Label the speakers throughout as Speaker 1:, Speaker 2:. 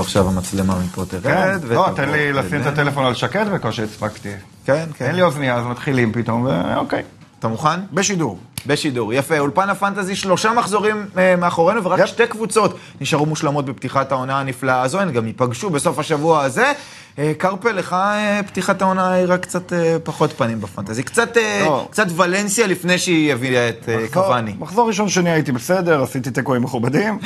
Speaker 1: עכשיו המצלמה מפה תרד.
Speaker 2: לא, תן לי
Speaker 1: ותבוא
Speaker 2: לשים את
Speaker 1: אלינו.
Speaker 2: הטלפון על שקט בקושי הספקתי.
Speaker 1: כן,
Speaker 2: אין
Speaker 1: כן.
Speaker 2: לי אוזנייה, אז מתחילים פתאום, אוקיי. ואוקיי.
Speaker 1: אתה מוכן?
Speaker 3: בשידור.
Speaker 1: בשידור, יפה. אולפן הפנטזי, שלושה מחזורים אה, מאחורינו, ורק
Speaker 3: יפ.
Speaker 1: שתי קבוצות נשארו מושלמות בפתיחת העונה הנפלאה הזו, הן גם ייפגשו בסוף השבוע הזה. אה, קרפל, לך אה, פתיחת העונה העירה קצת אה, פחות פנים בפנטזי. קצת, אה,
Speaker 3: לא.
Speaker 1: קצת ולנסיה לפני שהיא הביאה את אה,
Speaker 2: מחזור-
Speaker 1: קוואני.
Speaker 2: מחזור ראשון שני הייתי בסדר, עשיתי תיקואים מכובדים.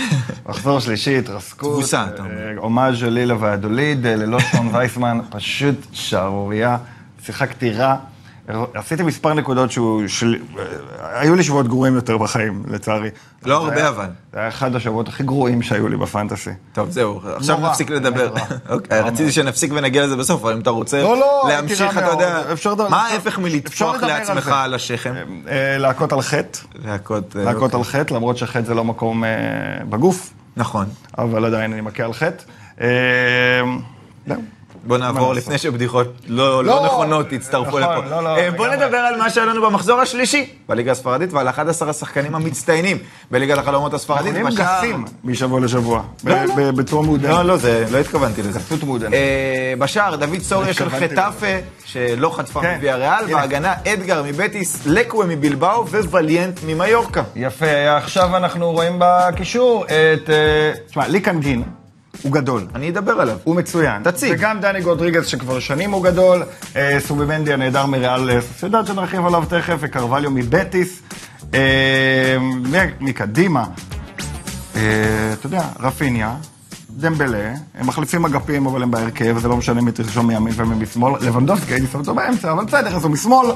Speaker 2: מחזור שלישי, התרסקות.
Speaker 1: תבוסה, אתה אומר.
Speaker 2: אה, הומאז' ללילה והדוליד, אה, ללא שון וייסמן, פשוט שערורייה. שיחקתי רע. אה, עשיתי מספר נקודות שהוא... של... אה, היו לי שבועות גרועים יותר בחיים, לצערי.
Speaker 1: לא
Speaker 2: זה
Speaker 1: הרבה,
Speaker 2: היה-
Speaker 1: אבל.
Speaker 2: זה היה אחד השבועות הכי גרועים שהיו לי בפנטסי.
Speaker 1: טוב, זהו, עכשיו
Speaker 2: נורא,
Speaker 1: נפסיק
Speaker 2: באמת
Speaker 1: לדבר.
Speaker 2: נורא.
Speaker 1: אוקיי,
Speaker 2: נורא
Speaker 1: רציתי
Speaker 2: מאוד.
Speaker 1: שנפסיק ונגיע לזה בסוף, אבל אם אתה רוצה
Speaker 2: לא, לא, הייתי
Speaker 1: להמשיך,
Speaker 2: רע
Speaker 1: אתה יודע,
Speaker 2: מאוד. אפשר לדבר-
Speaker 1: מה
Speaker 2: אפשר-
Speaker 1: ההפך
Speaker 2: אפשר
Speaker 1: מלטפוח
Speaker 2: לדבר על
Speaker 1: לעצמך
Speaker 2: זה.
Speaker 1: על השכם?
Speaker 2: אה, להכות על חטא,
Speaker 1: להכות... אה,
Speaker 2: להכות
Speaker 1: אוקיי.
Speaker 2: על חטא, למרות שחטא זה לא מקום אה, בגוף,
Speaker 1: נכון.
Speaker 2: אבל עדיין אני מכה על חטא. אה, זהו.
Speaker 1: בוא נעבור
Speaker 2: מה
Speaker 1: לפני שבדיחות לא, לא
Speaker 2: לא,
Speaker 1: נכונות יצטרפו
Speaker 2: נכון,
Speaker 1: לפה.
Speaker 2: לא, לא,
Speaker 1: אה, בוא
Speaker 2: לגמרי.
Speaker 1: נדבר על מה שהיה לנו במחזור השלישי בליגה הספרדית ועל 11 השחקנים המצטיינים בליגת החלומות הספרדית.
Speaker 2: חולים
Speaker 1: בשער-
Speaker 2: גסים משבוע לשבוע, ב-
Speaker 1: לא, לא.
Speaker 2: ב- בצורה מודעת.
Speaker 1: לא, לא, זה, לא התכוונתי לזה.
Speaker 2: גסות מעודנת.
Speaker 1: אה, בשער, דוד סוריה של
Speaker 2: התכוונתי
Speaker 1: חטאפה, שלא חטפה
Speaker 2: כן,
Speaker 1: מביאה ריאל,
Speaker 2: הנה.
Speaker 1: בהגנה אדגר מבטיס, לקווה מבלבאו ווליאנט ממיורקה.
Speaker 2: יפה, עכשיו אנחנו רואים בקישור את... אה, תשמע, ליקן גין הוא גדול.
Speaker 1: אני אדבר עליו.
Speaker 2: הוא מצוין.
Speaker 1: תציג.
Speaker 2: וגם דני גודריגז שכבר שנים הוא גדול, אה, סובימנדי הנהדר מריאל אה, סוסיידד שנרחיב עליו תכף, וקרווליו מבטיס, אה, מ- מקדימה, אה, אתה יודע, רפיניה, דמבלה, הם מחליפים אגפים אבל הם בהרכב, זה לא משנה מי תרשום מימין ומי משמאל, לבנדובסקי הייתי שם אותו באמצע, אבל בסדר, אז הוא משמאל.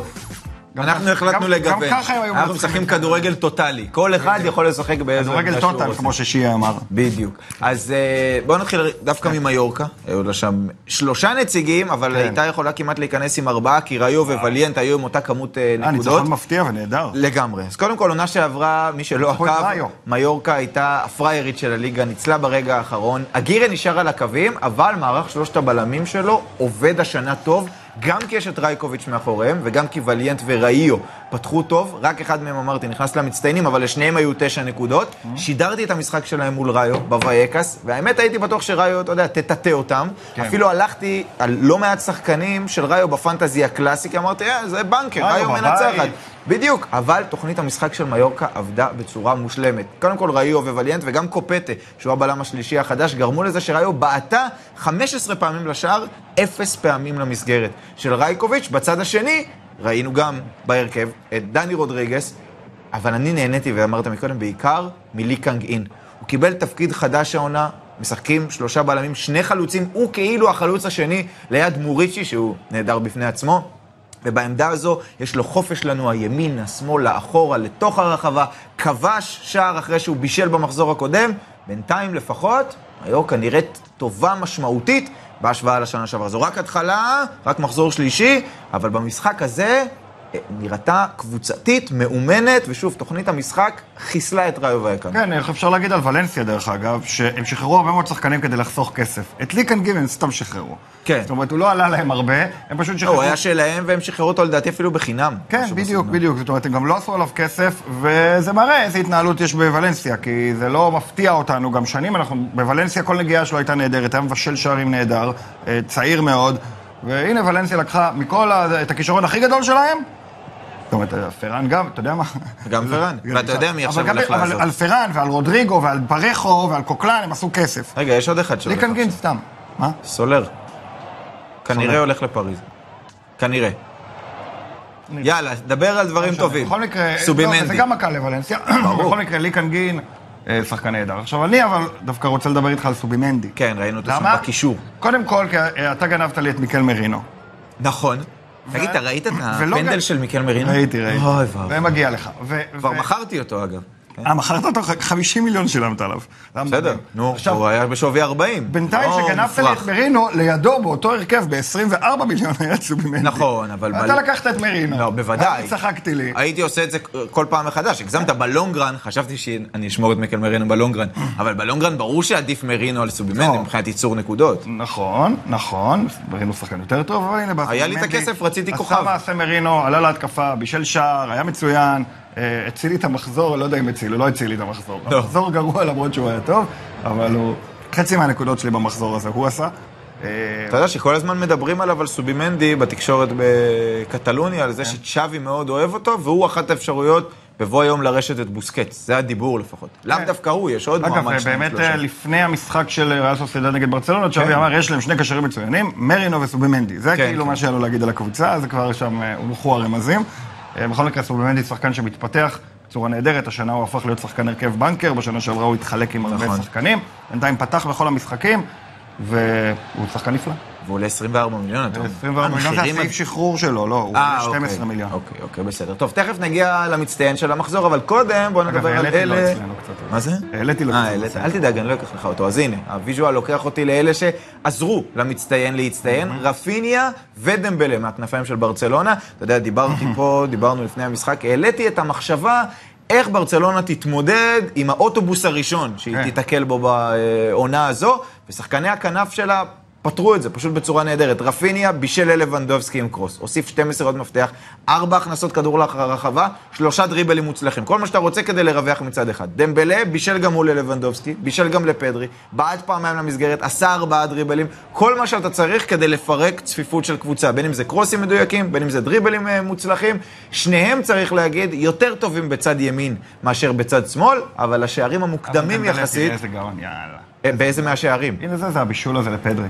Speaker 2: גם-
Speaker 1: אנחנו החלטנו
Speaker 2: גם-
Speaker 1: לגוון.
Speaker 2: גם ככה הם היו
Speaker 1: אנחנו
Speaker 2: מנצחים.
Speaker 1: משחקים כדורגל טוטאלי. כל אחד יכול לשחק באיזה...
Speaker 2: כדורגל
Speaker 1: עמדה שהוא
Speaker 2: טוטל,
Speaker 1: רוצה.
Speaker 2: כמו ששיעה אמר.
Speaker 1: בדיוק. אז אה, בואו נתחיל דווקא
Speaker 2: כן.
Speaker 1: ממיורקה. היו לה שם שלושה נציגים, אבל הייתה יכולה כמעט להיכנס עם ארבעה, כי ראיו ווליאנט היו עם אותה כמות אה,
Speaker 2: אה,
Speaker 1: נקודות.
Speaker 2: ניצחון מפתיע ונהדר.
Speaker 1: לגמרי. אז קודם כל, עונה שעברה, מי שלא
Speaker 2: הפועל
Speaker 1: עקב,
Speaker 2: מאיו.
Speaker 1: מיורקה הייתה הפריירית של הליגה, ניצלה ברגע האחרון. הגירה נשאר על הקווים, אבל מערך שלושת הבלמים שלו עובד השנה טוב, גם כי יש את רייקוביץ' מאחוריהם, וגם כי וליאנט וראיו פתחו טוב. רק אחד מהם, אמרתי, נכנס למצטיינים, אבל לשניהם היו תשע נקודות.
Speaker 2: Mm-hmm.
Speaker 1: שידרתי את המשחק שלהם מול ראיו, בוויאקס, והאמת, הייתי בטוח שראיו, אתה יודע, תטאטא אותם.
Speaker 2: כן.
Speaker 1: אפילו הלכתי על לא מעט שחקנים של ראיו בפנטזי הקלאסי, כי אמרתי, "אה, זה בנקר, ראיו
Speaker 2: ראיו בבית."
Speaker 1: מנצחת. בדיוק, אבל תוכנית המשחק של מיורקה עבדה בצורה מושלמת. קודם כל ראיו ווליאנט וגם קופטה, שהוא הבלם השלישי החדש, גרמו לזה שראיו בעטה 15 פעמים לשער, 0 פעמים למסגרת. של רייקוביץ', בצד השני, ראינו גם בהרכב את דני רודריגס, אבל אני נהניתי, ואמרת מקודם, בעיקר מלי קאנג אין. הוא קיבל תפקיד חדש העונה, משחקים שלושה בלמים, שני חלוצים, הוא כאילו החלוץ השני ליד מוריצ'י, שהוא נהדר בפני עצמו. ובעמדה הזו יש לו חופש לנוע ימינה, שמאלה, אחורה, לתוך הרחבה, כבש שער אחרי שהוא בישל במחזור הקודם, בינתיים לפחות, היורקה נראית טובה משמעותית בהשוואה לשנה שעברה. זו רק התחלה, רק מחזור שלישי, אבל במשחק הזה אה, נראתה קבוצתית, מאומנת, ושוב, תוכנית המשחק חיסלה את ראיו ויקה.
Speaker 2: כן, איך אפשר להגיד על ולנסיה, דרך אגב, שהם שחררו הרבה מאוד שחקנים כדי לחסוך כסף. את ליקן גיב הם סתם שחררו.
Speaker 1: כן.
Speaker 2: זאת אומרת, הוא לא עלה להם הרבה, הם פשוט
Speaker 1: לא,
Speaker 2: שחררו.
Speaker 1: הוא היה שלהם והם שחררו אותו לדעתי אפילו בחינם.
Speaker 2: כן,
Speaker 1: משהו
Speaker 2: בדיוק,
Speaker 1: בסגנון.
Speaker 2: בדיוק. זאת אומרת, הם גם לא עשו עליו כסף, וזה מראה איזה התנהלות יש בוולנסיה, כי זה לא מפתיע אותנו. גם שנים אנחנו... בוולנסיה כל נגיעה שלו הייתה נהדרת, היה מבשל שערים נהדר, אה, צעיר מאוד, והנה ולנסיה לקחה מכל ה... את הכישרון הכי גדול שלהם. זאת אומרת, פרן גם, אתה יודע מה? לא.
Speaker 1: גם פרן. ואתה יודע מי עכשיו
Speaker 2: אבל גם-
Speaker 1: הולך
Speaker 2: אבל
Speaker 1: לעזוב.
Speaker 2: על פרן ועל רודריגו ועל ברחו ועל קוקלן הם עשו כסף.
Speaker 1: רגע, יש עוד אחד שלא
Speaker 2: ליקן גין סתם. מה?
Speaker 1: סולר. כנראה הולך לפריז. כנראה. יאללה, דבר על דברים טובים.
Speaker 2: בכל מקרה, לא, זה
Speaker 1: סובימנדי.
Speaker 2: גם מכה לוולנסיה.
Speaker 1: ברור.
Speaker 2: בכל מקרה, ליקן גין, אה, שחקן נהדר. עכשיו, אני אבל דווקא רוצה לדבר איתך על סובימנדי.
Speaker 1: כן, ראינו אותו
Speaker 2: למה?
Speaker 1: שם בקישור.
Speaker 2: קודם כל, כי אה, אתה גנבת לי את מיקל מרינו.
Speaker 1: נכון. תגיד, אתה ראית את הפנדל של מיקל מרינו?
Speaker 2: ראיתי, ראיתי.
Speaker 1: אוי ואבוי.
Speaker 2: זה מגיע לך. ו-
Speaker 1: כבר
Speaker 2: ו-
Speaker 1: מכרתי אותו, אגב. כן.
Speaker 2: אה, מכרת אותו? 50 מיליון שילמת עליו.
Speaker 1: בסדר. נו,
Speaker 2: עכשיו,
Speaker 1: הוא היה בשווי 40.
Speaker 2: בינתיים
Speaker 1: לא
Speaker 2: שגנבת לי את
Speaker 1: מופרך.
Speaker 2: מרינו, לידו באותו הרכב ב-24 מיליון היה סובימנדי.
Speaker 1: נכון, אבל...
Speaker 2: אתה
Speaker 1: בל-
Speaker 2: לקחת את מרינו.
Speaker 1: לא, בוודאי.
Speaker 2: ואז צחקתי לי.
Speaker 1: הייתי עושה את זה כל פעם מחדש. הגזמת בלונגרן, חשבתי שאני אשמור את מיקל מרינו בלונגרן, אבל בלונגרן ברור שעדיף מרינו על סובימנדי
Speaker 2: לא.
Speaker 1: מבחינת ייצור נקודות.
Speaker 2: נכון, נכון, מרינו שחקן יותר טוב, אבל הנה, באסל
Speaker 1: היה לי את
Speaker 2: מנדי
Speaker 1: הכסף, רציתי
Speaker 2: עשה
Speaker 1: כוכב.
Speaker 2: מעשה מרינו, עלה להתקפה, בישל שער, היה מצוין, אה, הציל לי את המחזור, לא יודע אם הציל, הוא לא הציל לי את המחזור.
Speaker 1: לא.
Speaker 2: המחזור גרוע למרות שהוא היה טוב, אבל הוא... חצי מהנקודות שלי במחזור הזה הוא עשה. אה,
Speaker 1: אתה יודע שכל הזמן מדברים עליו, על סובימנדי, בתקשורת בקטלוניה, על זה
Speaker 2: כן.
Speaker 1: שצ'אבי מאוד אוהב אותו, והוא אחת האפשרויות בבוא היום לרשת את בוסקץ. זה הדיבור לפחות. לאו דווקא הוא, יש עוד
Speaker 2: כן. אגב,
Speaker 1: מועמד שניים,
Speaker 2: באמת
Speaker 1: שלושה.
Speaker 2: אה, לפני המשחק של אה, ריאל סוסיידד נגד ברצלונה,
Speaker 1: כן.
Speaker 2: צ'אבי אמר, יש להם שני קשרים מצוינים, מרינו וסובימנדי. זה
Speaker 1: כן,
Speaker 2: כאילו
Speaker 1: כן.
Speaker 2: מה שהיה לו להגיד על הקבוצה, זה כבר שם אה, הונחו הרמזים. אה, בכל מקרה, סובימנדי שחקן שמתפתח בצורה נהדרת, השנה הוא הפך להיות שחקן הרכב בנקר, בשנה שעברה הוא התחלק עם הרבה
Speaker 1: נכון.
Speaker 2: שחקנים, בינתיים פתח בכל המשחקים, והוא שחקן נפלא.
Speaker 1: והוא עולה 24 מיליון, אתה אומר.
Speaker 2: 24 מיליון זה
Speaker 1: המחירים
Speaker 2: הסעיף שחרור שלו, לא, הוא
Speaker 1: אה,
Speaker 2: עולה 12
Speaker 1: אוקיי.
Speaker 2: מיליון.
Speaker 1: אוקיי, אוקיי, בסדר. טוב, תכף נגיע למצטיין של המחזור, אבל קודם בוא
Speaker 2: אגב,
Speaker 1: נדבר על
Speaker 2: העליתי לו
Speaker 1: אלה...
Speaker 2: אצלנו קצת.
Speaker 1: מה זה?
Speaker 2: העליתי לו
Speaker 1: אה,
Speaker 2: קצת
Speaker 1: העלית.
Speaker 2: נושא.
Speaker 1: אל תדאג, אני לא אקח לך אותו. אז הנה, הוויז'ואל לוקח אותי לאלה שעזרו למצטיין להצטיין, רפיניה ודמבלה מהכנפיים של ברצלונה. אתה יודע, דיברתי פה, דיברנו לפני המשחק, העליתי את המחשבה. איך ברצלונה תתמודד עם האוטובוס הראשון שהיא
Speaker 2: כן.
Speaker 1: תיתקל בו בעונה הזו, ושחקני הכנף שלה פתרו את זה, פשוט בצורה נהדרת. רפיניה בישל ללבנדובסקי עם קרוס, הוסיף 12 עוד מפתח, 4 הכנסות כדור לח- לרחבה, שלושה דריבלים מוצלחים. כל מה שאתה רוצה כדי לרווח מצד אחד. דמבלה בישל גם הוא ללבנדובסקי, בישל גם לפדרי, בעט פעמיים למסגרת, עשה ארבעה דריבלים, כל מה שאתה צריך כדי לפרק צפיפות של קבוצה, בין אם זה קרוסים מדויקים, בין אם זה דריבלים אה, מוצלחים, שניהם, צריך להגיד, יותר טובים בצד ימין מאשר בצד שמאל, אבל השערים המוקדמים
Speaker 2: אבל דמבלה,
Speaker 1: יחסית,
Speaker 2: תראה איזה גאון, יאללה.
Speaker 1: אה, באיזה מהשערים?
Speaker 2: הנה זה, זה הבישול הזה לפדרי.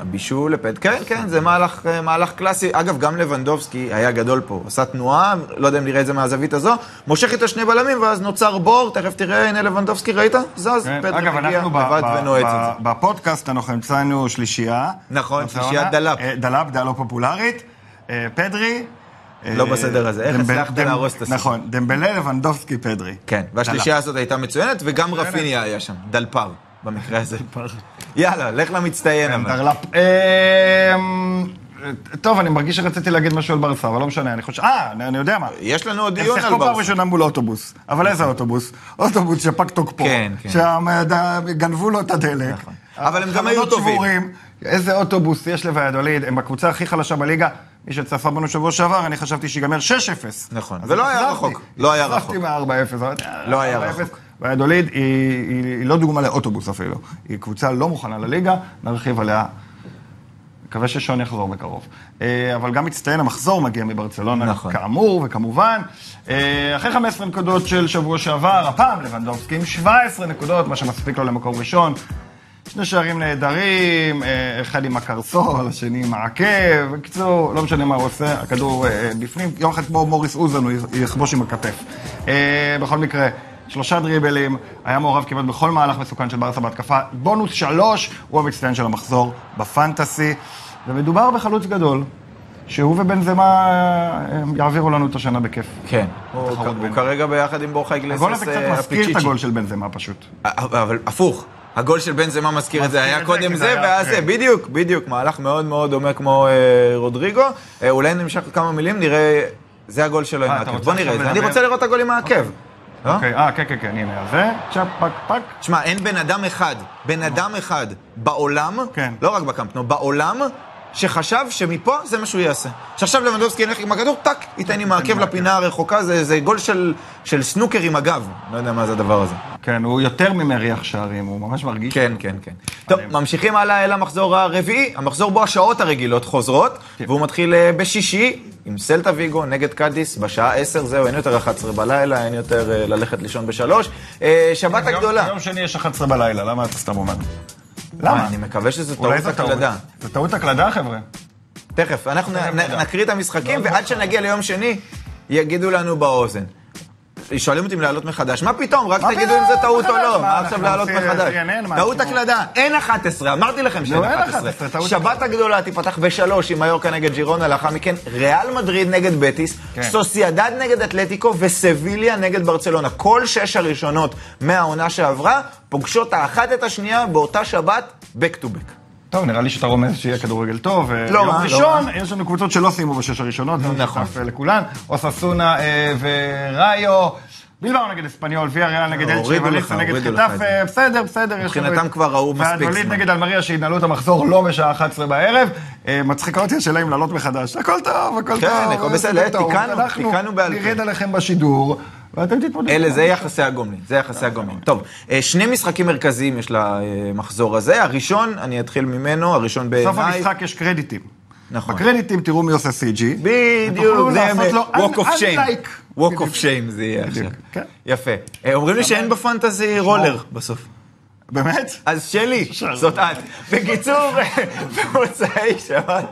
Speaker 1: הבישול לפד, כן, כן, זה מהלך, אה, מהלך קלאסי. אגב, גם לבנדובסקי היה גדול פה, עשה תנועה, לא יודע אם נראה את זה מהזווית הזו, מושך איתו שני בלמים, ואז נוצר בור, תכף תראה, הנה לבנדובסקי, ראית? זז,
Speaker 2: כן,
Speaker 1: פדרי
Speaker 2: אגב,
Speaker 1: מגיע
Speaker 2: אנחנו ב-
Speaker 1: לבד
Speaker 2: ב-
Speaker 1: ונועץ את
Speaker 2: ב-
Speaker 1: זה.
Speaker 2: בפודקאסט אנחנו המצאנו שלישייה.
Speaker 1: נכון,
Speaker 2: ברצלונה.
Speaker 1: שלישיית דלאפ.
Speaker 2: אה, דלאפ, דעה לא פופולרית. אה, פדרי. אה,
Speaker 1: לא בסדר הזה. איך
Speaker 2: דמב-
Speaker 1: הצלחת
Speaker 2: דמ-
Speaker 1: להרוס את הסיפור?
Speaker 2: נכון, דמבלה, לבנדובסקי, פדרי.
Speaker 1: כן, והשלישייה הזאת הייתה מצוינת, וגם רפיניה היה שם, דלפר, במקרה הזה. יאללה, לך למצטיין
Speaker 2: כן,
Speaker 1: אבל.
Speaker 2: דרלפ. אמ, טוב, אני מרגיש שרציתי להגיד משהו על ברסה, אבל לא משנה, אני חושב... אה, אני אני יודע מה.
Speaker 1: יש לנו עוד
Speaker 2: הם
Speaker 1: דיון על
Speaker 2: שיחקו פעם
Speaker 1: ברסה.
Speaker 2: ראשונה מול אוטובוס, אבל איזה אוטובוס? אוטובוס שפג תוקפו,
Speaker 1: כן, כן.
Speaker 2: שגנבו לו את הדלק.
Speaker 1: נכון. אבל הם גם היו
Speaker 2: החלונות
Speaker 1: טובים.
Speaker 2: שבורים. איזה אוטובוס יש לויאדוליד, הם בקבוצה הכי חלשה בליגה. מי שצפה בנו שבוע שעבר, אני חשבתי שיגמר 6-0.
Speaker 1: נכון.
Speaker 2: אז
Speaker 1: ולא היה
Speaker 2: התאכזבתי.
Speaker 1: רחוק, לא היה
Speaker 2: התאכזבתי
Speaker 1: רחוק.
Speaker 2: מה-4-0. אבל-
Speaker 1: לא היה
Speaker 2: 4-0.
Speaker 1: רחוק.
Speaker 2: ויאדוליד היא, היא, היא לא דוגמה לאוטובוס אפילו, היא קבוצה לא מוכנה לליגה, נרחיב עליה. מקווה ששון יחזור בקרוב. אה, אבל גם מצטיין המחזור מגיע מברצלונה,
Speaker 1: נכון.
Speaker 2: כאמור, וכמובן. אה, אחרי 15 נקודות של שבוע שעבר, הפעם לבנדובסקי עם 17 נקודות, מה שמספיק לו למקום ראשון. שני שערים נהדרים, אה, אחד עם הקרסול, השני עם העקב. בקיצור, לא משנה מה הוא עושה, הכדור אה, בפנים. יום אחד כמו מוריס אוזן, הוא יכבוש עם הכתף. אה, בכל מקרה, שלושה דריבלים, היה מעורב כמעט בכל מהלך מסוכן של ברסה בהתקפה. בונוס שלוש, הוא המצטיין של המחזור בפנטסי. ומדובר בחלוץ גדול, שהוא ובנזמה אה, יעבירו לנו את השנה בכיף.
Speaker 1: כן, הוא
Speaker 2: תחרות
Speaker 1: הוא
Speaker 2: ביניהם.
Speaker 1: כרגע ביחד עם בורחה איגלסס
Speaker 2: הגול הזה קצת
Speaker 1: אה,
Speaker 2: מזכיר את
Speaker 1: הפיצ'יצ'י.
Speaker 2: הגול של בנזמה פשוט.
Speaker 1: אה? אבל הפוך, הגול של בנזמה מזכיר את זה, היה
Speaker 2: את זה, כן.
Speaker 1: קודם
Speaker 2: כי זה
Speaker 1: זה,
Speaker 2: היה
Speaker 1: ואז זה,
Speaker 2: אחרי.
Speaker 1: בדיוק, בדיוק, מהלך מאוד מאוד דומה כמו אה, רודריגו. אה, אולי נמשך כמה מילים, נראה, זה הגול שלו עם
Speaker 2: אה, אתה
Speaker 1: העקב.
Speaker 2: רוצה
Speaker 1: בוא נראה,
Speaker 2: עכשיו
Speaker 1: את זה. אני
Speaker 2: לדבר?
Speaker 1: רוצה לראות את הגול עם העקב. לא?
Speaker 2: אוקיי, אה, כן, כן, כן, הנה, אז זה, צ'אפ, פק, פק.
Speaker 1: תשמע, אין בן אדם אחד, בן אדם אחד בעולם,
Speaker 2: כן.
Speaker 1: לא רק בקמפנו, בעולם, שחשב שמפה זה מה שהוא יעשה. שעכשיו לבנדובסקי ילך עם הכדור, טאק, ייתן עם העקב
Speaker 2: כן, עם העקב.
Speaker 1: לפינה הרחוקה, זה זה גול של- של סנוקר עם הגב. לא יודע מה זה הדבר הזה.
Speaker 2: כן, הוא יותר ממריח שערים, הוא ממש מרגיש.
Speaker 1: כן, כן, כן. טוב, ממשיכים הלאה אל המחזור הרביעי, המחזור בו השעות הרגילות חוזרות,
Speaker 2: כן.
Speaker 1: והוא מתחיל אה, בשישי עם סלטה ויגו נגד קאדיס, בשעה 10, זהו, אין יותר 11 בלילה, אין יותר אה, ללכת לישון בשלוש. אה, שבת
Speaker 2: יום-
Speaker 1: הגדולה.
Speaker 2: יום שני יש 11 בלילה, למה אתה סתם אומר?
Speaker 1: וואי,
Speaker 2: למה?
Speaker 1: אה, אני מקווה שזו
Speaker 2: אולי
Speaker 1: טעות
Speaker 2: זו טעות.
Speaker 1: הקלדה.
Speaker 2: זו טעות הקלדה, חבר'ה.
Speaker 1: תכף, אנחנו
Speaker 2: תכף
Speaker 1: נ-
Speaker 2: נדע. לא,
Speaker 1: נקריא את המשחקים, ועד שנגיע ליום שני, יגידו לנו באוזן. שואלים אותי אם לעלות מחדש, מה פתאום? רק
Speaker 2: מה
Speaker 1: תגידו
Speaker 2: פתאום?
Speaker 1: אם זה טעות או
Speaker 2: מחדש,
Speaker 1: לא,
Speaker 2: מה,
Speaker 1: מה
Speaker 2: אנחנו
Speaker 1: עכשיו לעלות
Speaker 2: עושים אה,
Speaker 1: מחדש?
Speaker 2: CNN, מה,
Speaker 1: טעות
Speaker 2: אנחנו-
Speaker 1: הקלדה, אין 11, אמרתי לכם שאין
Speaker 2: לא, אין
Speaker 1: 11.
Speaker 2: 11, טעות
Speaker 1: שבת הגדולה תיפתח בשלוש עם מיורקה נגד ג'ירונה, לאחר מכן ריאל מדריד נגד בטיס,
Speaker 2: כן.
Speaker 1: סוסיידד נגד אתלטיקו וסביליה נגד ברצלונה. כל שש הראשונות מהעונה שעברה פוגשות האחת את השנייה באותה שבת, back to back.
Speaker 2: טוב, נראה לי שאתה רומז שיהיה כדורגל טוב. אה,
Speaker 1: לא
Speaker 2: יום
Speaker 1: רע, לא
Speaker 2: ראשון, יש לנו קבוצות שלא סיימו בשש הראשונות. זה
Speaker 1: נכון.
Speaker 2: משותף, אה, לכולן. אוססונה אה, וראיו. בילבאו נגד אספניול, ויה ריאל נגד אלצ'ה,
Speaker 1: הורידו לך,
Speaker 2: וליסה נגד
Speaker 1: הורידו לך את
Speaker 2: חטף,
Speaker 1: זה.
Speaker 2: אה, בסדר, בסדר. יש לנו
Speaker 1: מבחינתם
Speaker 2: את-
Speaker 1: כבר ראו מספיק
Speaker 2: והדולית
Speaker 1: זמן.
Speaker 2: נגד אלמריה שינהלו את המחזור לא בשעה 11 בערב. אה, מצחיקה אותי השאלה אם לעלות מחדש. הכל טוב, הכל
Speaker 1: כן,
Speaker 2: טוב. אה,
Speaker 1: הכל בסדר,
Speaker 2: הכל טוב.
Speaker 1: תיקנו,
Speaker 2: אנחנו
Speaker 1: תיקנו בעל פה.
Speaker 2: נרד עליכם בשידור, ואתם תתמודדו.
Speaker 1: אלה, זה יחסי הגומלין, זה יחסי הגומלין. טוב, אה, שני משחקים מרכזיים יש למחזור הזה. הראשון, אני אתחיל ממנו, הראשון בעיניי...
Speaker 2: בסוף המשחק יש קרדיטים.
Speaker 1: נכון.
Speaker 2: בקרדיטים תראו מי עושה CG.
Speaker 1: בדיוק,
Speaker 2: ותוכלו
Speaker 1: זה
Speaker 2: לעשות לו
Speaker 1: walk of
Speaker 2: un-
Speaker 1: shame.
Speaker 2: unlike.
Speaker 1: walk of shame זה יהיה עכשיו.
Speaker 2: בדיוק, כן.
Speaker 1: יפה. אה, אומרים לי שאין בפנטזי רולר בסוף.
Speaker 2: באמת?
Speaker 1: אז שלי, זאת את. בקיצור, במוצאי שבת,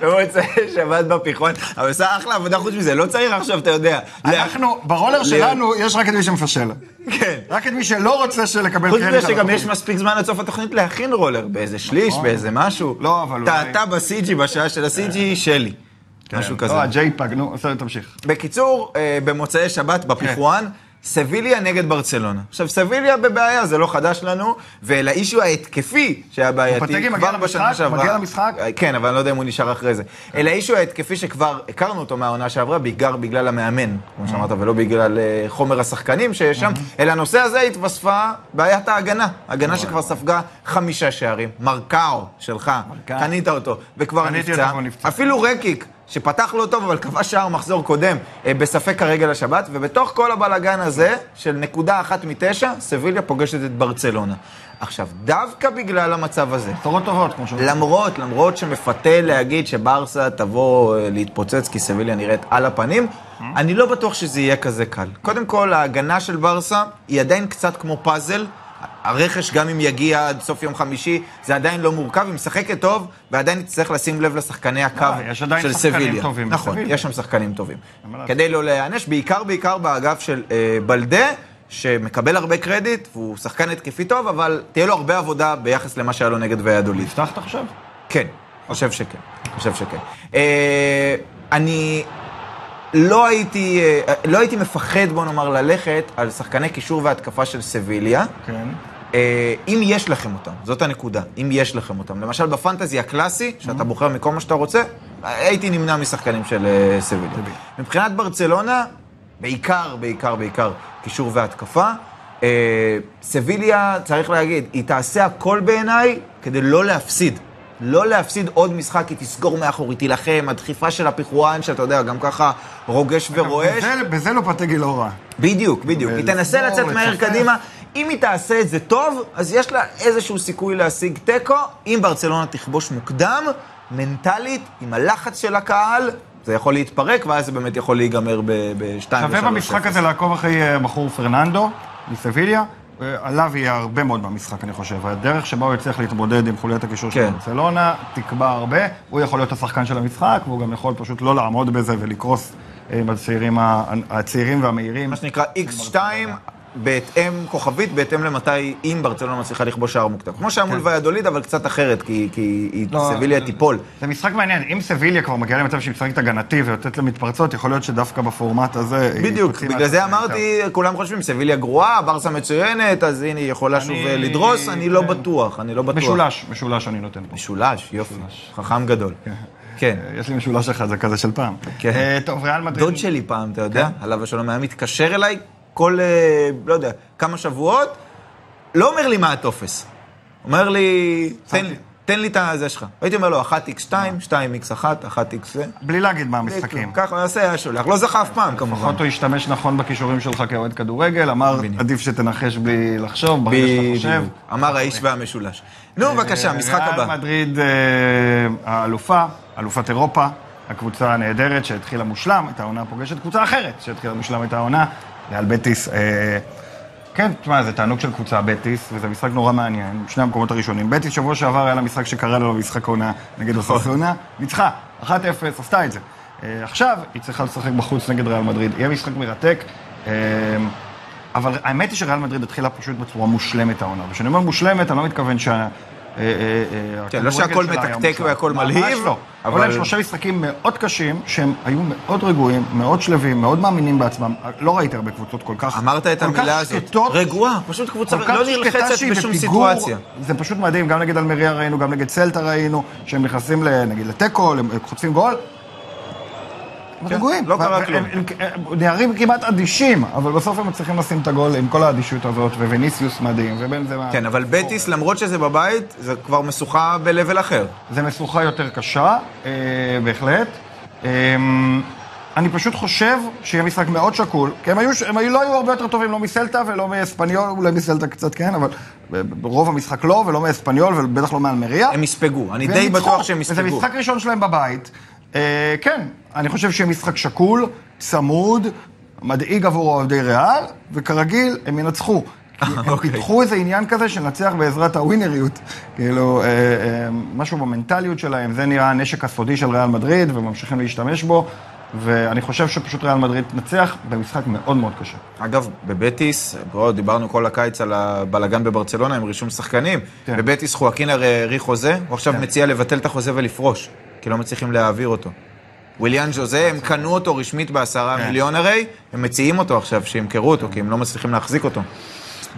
Speaker 1: במוצאי שבת בפיחון, אבל עושה אחלה עבודה חוץ מזה, לא צריך עכשיו, אתה יודע.
Speaker 2: אנחנו, ברולר שלנו יש רק את מי שמפשל.
Speaker 1: כן.
Speaker 2: רק את מי שלא רוצה שלקבל
Speaker 1: חוץ
Speaker 2: קרדיט.
Speaker 1: מזה
Speaker 2: על
Speaker 1: שגם
Speaker 2: התוכנית.
Speaker 1: יש מספיק זמן עד סוף התוכנית להכין רולר, באיזה שליש, באיזה משהו.
Speaker 2: לא, אבל אולי- כן.
Speaker 1: טעתה בסי.ג'י, בשעה של הסי.ג'י, שלי. משהו כזה.
Speaker 2: לא, הג'ייפאג, נו, בסדר, תמשיך.
Speaker 1: בקיצור, אה, במוצאי שבת בפיחואן, סביליה נגד ברצלונה. עכשיו, סביליה בבעיה, זה לא חדש לנו, ולאישו ההתקפי שהיה
Speaker 2: לופטגי
Speaker 1: בעייתי
Speaker 2: מגיע
Speaker 1: כבר
Speaker 2: למשחק?
Speaker 1: בשנה שעברה.
Speaker 2: מגיע למשחק? כן.
Speaker 1: אה, כן, אבל אני לא יודע אם הוא נשאר אחרי זה. אלא האישו ההתקפי שכבר הכרנו אותו מהעונה שעברה, בעיקר בגלל המאמן, כמו שאמרת,
Speaker 2: Mm.
Speaker 1: ולא בגלל אה, חומר השחקנים שיש שם,
Speaker 2: Mm-hmm.
Speaker 1: אלא הנושא הזה התווספה בעיית ההגנה. הגנה שכבר ספגה חמישה שערים. מרקאו שלך,
Speaker 2: מרקאו.
Speaker 1: קנית אותו, וכבר
Speaker 2: קניתי
Speaker 1: נפצע.
Speaker 2: אותו, הוא נפצע.
Speaker 1: אפילו רקיק, שפתח לא טוב, אבל כבש שער מחזור קודם, אה, בספק הרגל השבת, ובתוך כל הבלגן הזה, של נקודה אחת מתשע, סביליה פוגשת את ברצלונה. עכשיו, דווקא בגלל המצב הזה,
Speaker 2: בשורות טובות, כמו שאומרים.
Speaker 1: למרות, למרות שמפתה להגיד שברסה תבוא אה, להתפוצץ כי סביליה נראית על הפנים, אני לא בטוח שזה יהיה כזה קל. קודם כל, ההגנה של ברסה היא עדיין קצת כמו פאזל. הרכש, גם אם יגיע עד סוף יום חמישי, זה עדיין לא מורכב, היא משחקת טוב, ועדיין תצטרך לשים לב לשחקני הקו
Speaker 2: אה, יש עדיין
Speaker 1: של
Speaker 2: שחקנים
Speaker 1: סביליה.
Speaker 2: טובים
Speaker 1: נכון,
Speaker 2: בסביליה.
Speaker 1: יש שם שחקנים טובים.
Speaker 2: אין מה לעשות.
Speaker 1: כדי לא להיענש, בעיקר בעיקר באגף של אה, בלדה, שמקבל הרבה קרדיט, והוא שחקן התקפי טוב, אבל תהיה לו הרבה עבודה ביחס למה שהיה לו נגד ויאדוליד.
Speaker 2: הבטחת עכשיו?
Speaker 1: כן, חושב שכן, חושב שכן. אה, אני לא הייתי, אה, לא הייתי מפחד, בוא נאמר, ללכת על שחקני קישור והתקפה של סביליה.
Speaker 2: כן.
Speaker 1: אה, אם יש לכם אותם, זאת הנקודה, אם יש לכם אותם. למשל בפנטזי הקלאסי, שאתה בוחר מכל מה שאתה רוצה, הייתי נמנע משחקנים של אה, סביליה. מבחינת ברצלונה, בעיקר, בעיקר, בעיקר קישור והתקפה. אה, סביליה, צריך להגיד, היא תעשה הכל בעיניי כדי לא להפסיד. לא להפסיד עוד משחק, היא תסגור מאחור, היא תילחם, הדחיפה של הפיחואן, שאתה יודע, גם ככה רוגש ורועש.
Speaker 2: בזה- בזה לא פתגי לא
Speaker 1: אה,
Speaker 2: רע.
Speaker 1: בדיוק, בדיוק. היא תנסה
Speaker 2: לסגור,
Speaker 1: לצאת מהר
Speaker 2: לצופף.
Speaker 1: קדימה. אם היא תעשה את זה טוב, אז יש לה איזשהו סיכוי להשיג תיקו. אם ברצלונה תכבוש מוקדם, מנטלית, עם הלחץ של הקהל, זה יכול להתפרק, ואז זה באמת יכול להיגמר ב-2 ו-3.
Speaker 2: שווה במשחק הזה לעקוב אחרי אה, בחור פרננדו מסביליה. אה, עליו יהיה הרבה מאוד במשחק, אני חושב. הדרך שבה הוא יצליח להתמודד עם חוליית הקישור של
Speaker 1: כן.
Speaker 2: ברצלונה תקבע הרבה. הוא יכול להיות השחקן של המשחק, והוא גם יכול פשוט לא לעמוד בזה ולקרוס אה, עם הצעירים ה- הצעירים והמהירים.
Speaker 1: מה שנקרא X2, בהתאם, כוכבית, בהתאם למתי, אם ברצלונה מצליחה לכבוש שער מוקדם. כמו שהיה מול ויאדוליד, אבל קצת אחרת, כי כי היא
Speaker 2: כן. לא,
Speaker 1: סביליה תיפול.
Speaker 2: זה משחק מעניין, אם סביליה כבר מגיעה למצב שהיא משחקת הגנתי ויוצאת למתפרצות, יכול להיות שדווקא בפורמט הזה... היא
Speaker 1: בדיוק,
Speaker 2: תוציא
Speaker 1: בגלל
Speaker 2: מהצד
Speaker 1: זה
Speaker 2: יותר.
Speaker 1: אמרתי, כולם חושבים, סביליה גרועה, ברסה מצוינת, אז הנה, היא יכולה שוב
Speaker 2: אני-
Speaker 1: לדרוס, אני לא
Speaker 2: כן.
Speaker 1: בטוח, אני לא בטוח.
Speaker 2: משולש, משולש אני נותן פה.
Speaker 1: משולש, יופי, חכם גדול. כן.
Speaker 2: אה, יש לי משולש אחד, זה כזה של פעם.
Speaker 1: כן.
Speaker 2: אה, כן. טוב, ריאל מדריד...
Speaker 1: דוד שלי פעם, אתה יודע, עליו השלום היה מתקשר אליי כל, אה, לא יודע, כמה שבועות, לא אומר לי מה הטופס. אומר לי, תן לי, תן לי את הזה שלך. הייתי אומר לו, 1x2,
Speaker 2: אה.
Speaker 1: 2x1, 1x זה. כאילו,
Speaker 2: בלי להגיד מה המשחקים.
Speaker 1: ככה הוא עושה, היה שולח. לא זכה אף פעם, כמובן.
Speaker 2: לפחות הוא השתמש נכון בכישורים שלך כאוהד כדורגל, אמר,
Speaker 1: בדיוק.
Speaker 2: עדיף שתנחש בלי לחשוב, ברגע שאתה חושב. אה,
Speaker 1: בדיוק. אמר האיש והמשולש. נו, בבקשה, משחק הבא.
Speaker 2: ריאל מדריד אה, האלופה, אלופת אירופה, הקבוצה הנהדרת שהתחילה מושלם את העונה, פוגשת קבוצה אחרת שהתחילה מושלם את העונה, ריאל בטיס. אה, כן, תשמע, זה תענוג של קבוצה בטיס, וזה משחק נורא מעניין, שני המקומות הראשונים. בטיס שבוע שעבר היה לה משחק שקרא לו משחק עונה נגד אוססונה, ניצחה, 1-0, עשתה את זה. אה, עכשיו היא צריכה לשחק בחוץ נגד ריאל מדריד, יהיה משחק מרתק. אה, אבל האמת היא שריאל מדריד התחילה פשוט בצורה מושלמת העונה. וכשאני אומר מושלמת, אני לא מתכוון שה... אה, אה, אה,
Speaker 1: כן, לא שהכל
Speaker 2: הכדורגל שלה היה
Speaker 1: מתקתק
Speaker 2: מושלם.
Speaker 1: והכל
Speaker 2: ממש
Speaker 1: מלהיב,
Speaker 2: לא.
Speaker 1: אבל-
Speaker 2: אבל... היו להם שלושה משחקים מאוד קשים, שהם היו מאוד רגועים, מאוד שלווים, מאוד מאמינים בעצמם. לא ראיתי הרבה קבוצות כל כך...
Speaker 1: אמרת את
Speaker 2: כל כך
Speaker 1: המילה הזאת.
Speaker 2: שקטות,
Speaker 1: רגועה, פשוט קבוצה
Speaker 2: כל כך
Speaker 1: לא
Speaker 2: שקטה
Speaker 1: נלחצת
Speaker 2: שהיא
Speaker 1: בשום
Speaker 2: בפיגור.
Speaker 1: סיטואציה.
Speaker 2: זה פשוט מדהים, גם נגד אלמריה ראינו, גם נגד סלטה ראינו, שהם נכנסים ל- נגיד לתיקו, הם חוטפים גול, הם
Speaker 1: כן,
Speaker 2: רגועים.
Speaker 1: לא קרה
Speaker 2: והם-
Speaker 1: כלום.
Speaker 2: הם- הם- הם נערים כמעט אדישים, אבל בסוף הם מצליחים לשים את הגול עם כל האדישות הזאת, וויניסיוס מדהים, ובין זה... מה-
Speaker 1: כן, אבל בטיס, למרות שזה בבית, זה כבר משוכה ב-level אחר.
Speaker 2: זה משוכה יותר קשה, אה, בהחלט. אה, אני פשוט חושב שיהיה משחק מאוד שקול, כי הם, היו, הם היו, לא היו הרבה יותר טובים, לא מסלטה ולא מאספניול, אולי מסלטה קצת כן, אבל רוב המשחק לא, ולא מאספניול, ובטח לא מאלמריה.
Speaker 1: הם יספגו, אני
Speaker 2: והם
Speaker 1: די
Speaker 2: ניצחו.
Speaker 1: בטוח שהם
Speaker 2: וזה
Speaker 1: יספגו.
Speaker 2: משחק ראשון שלהם בבית. אה, כן, אני חושב שיהיה משחק שקול, צמוד, מדאיג עבור אוהדי ריאל, וכרגיל, הם ינצחו. כי הם
Speaker 1: אוקיי.
Speaker 2: פיתחו איזה עניין כזה של לנצח בעזרת הווינריות. כאילו, אה, אה, משהו במנטליות שלהם, זה נראה הנשק הסודי של ריאל מדריד, וממשיכים להשתמש בו, ואני חושב שפשוט ריאל מדריד תנצח במשחק מאוד מאוד קשה.
Speaker 1: אגב, בבטיס, בואו, דיברנו כל הקיץ על הבלגן בברצלונה עם רישום שחקנים.
Speaker 2: כן.
Speaker 1: בבטיס חואקין הרי האריך חוזה, הוא עכשיו
Speaker 2: כן.
Speaker 1: מציע לבטל את החוזה ולפרוש, כי לא מצליחים להעביר אותו. וויליאן ז'וזה, הם קנו אותו רשמית בעשרה
Speaker 2: כן.
Speaker 1: מיליון הרי, הם מציעים אותו עכשיו, שימכרו אותו, כי הם לא מצליחים להחזיק אותו.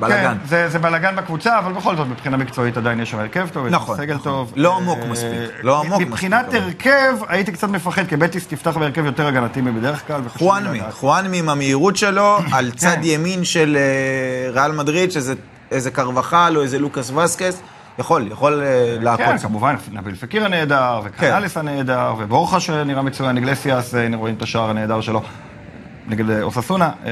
Speaker 1: בלאגן.
Speaker 2: כן, זה, זה בלאגן בקבוצה, אבל בכל זאת, מבחינה מקצועית עדיין יש שם הרכב טוב, יש
Speaker 1: נכון,
Speaker 2: סגל
Speaker 1: נכון.
Speaker 2: טוב.
Speaker 1: לא עמוק
Speaker 2: אה,
Speaker 1: מספיק, לא עמוק מספיק,
Speaker 2: מבחינת
Speaker 1: אבל-
Speaker 2: הרכב, הייתי קצת מפחד, כי בטיס תפתח בהרכב יותר הגנתי מבדרך כלל. וחשוב לי
Speaker 1: חואנמי,
Speaker 2: לדעת.
Speaker 1: חואנמי עם המהירות שלו, על צד
Speaker 2: כן.
Speaker 1: ימין של אה, ריאל מדריד, שזה איזה קרבחל או איזה לוקאס וסקס, יכול, יכול אה,
Speaker 2: כן,
Speaker 1: לעקוץ.
Speaker 2: כמובן, נביל פקיר הנהדר,
Speaker 1: כן.
Speaker 2: וקנאליס הנהדר, ובורחה שנראה מצוין, אגלסיאס, אה, הנה רואים את השער הנהדר שלו. נגד אה, אוססונה, אה,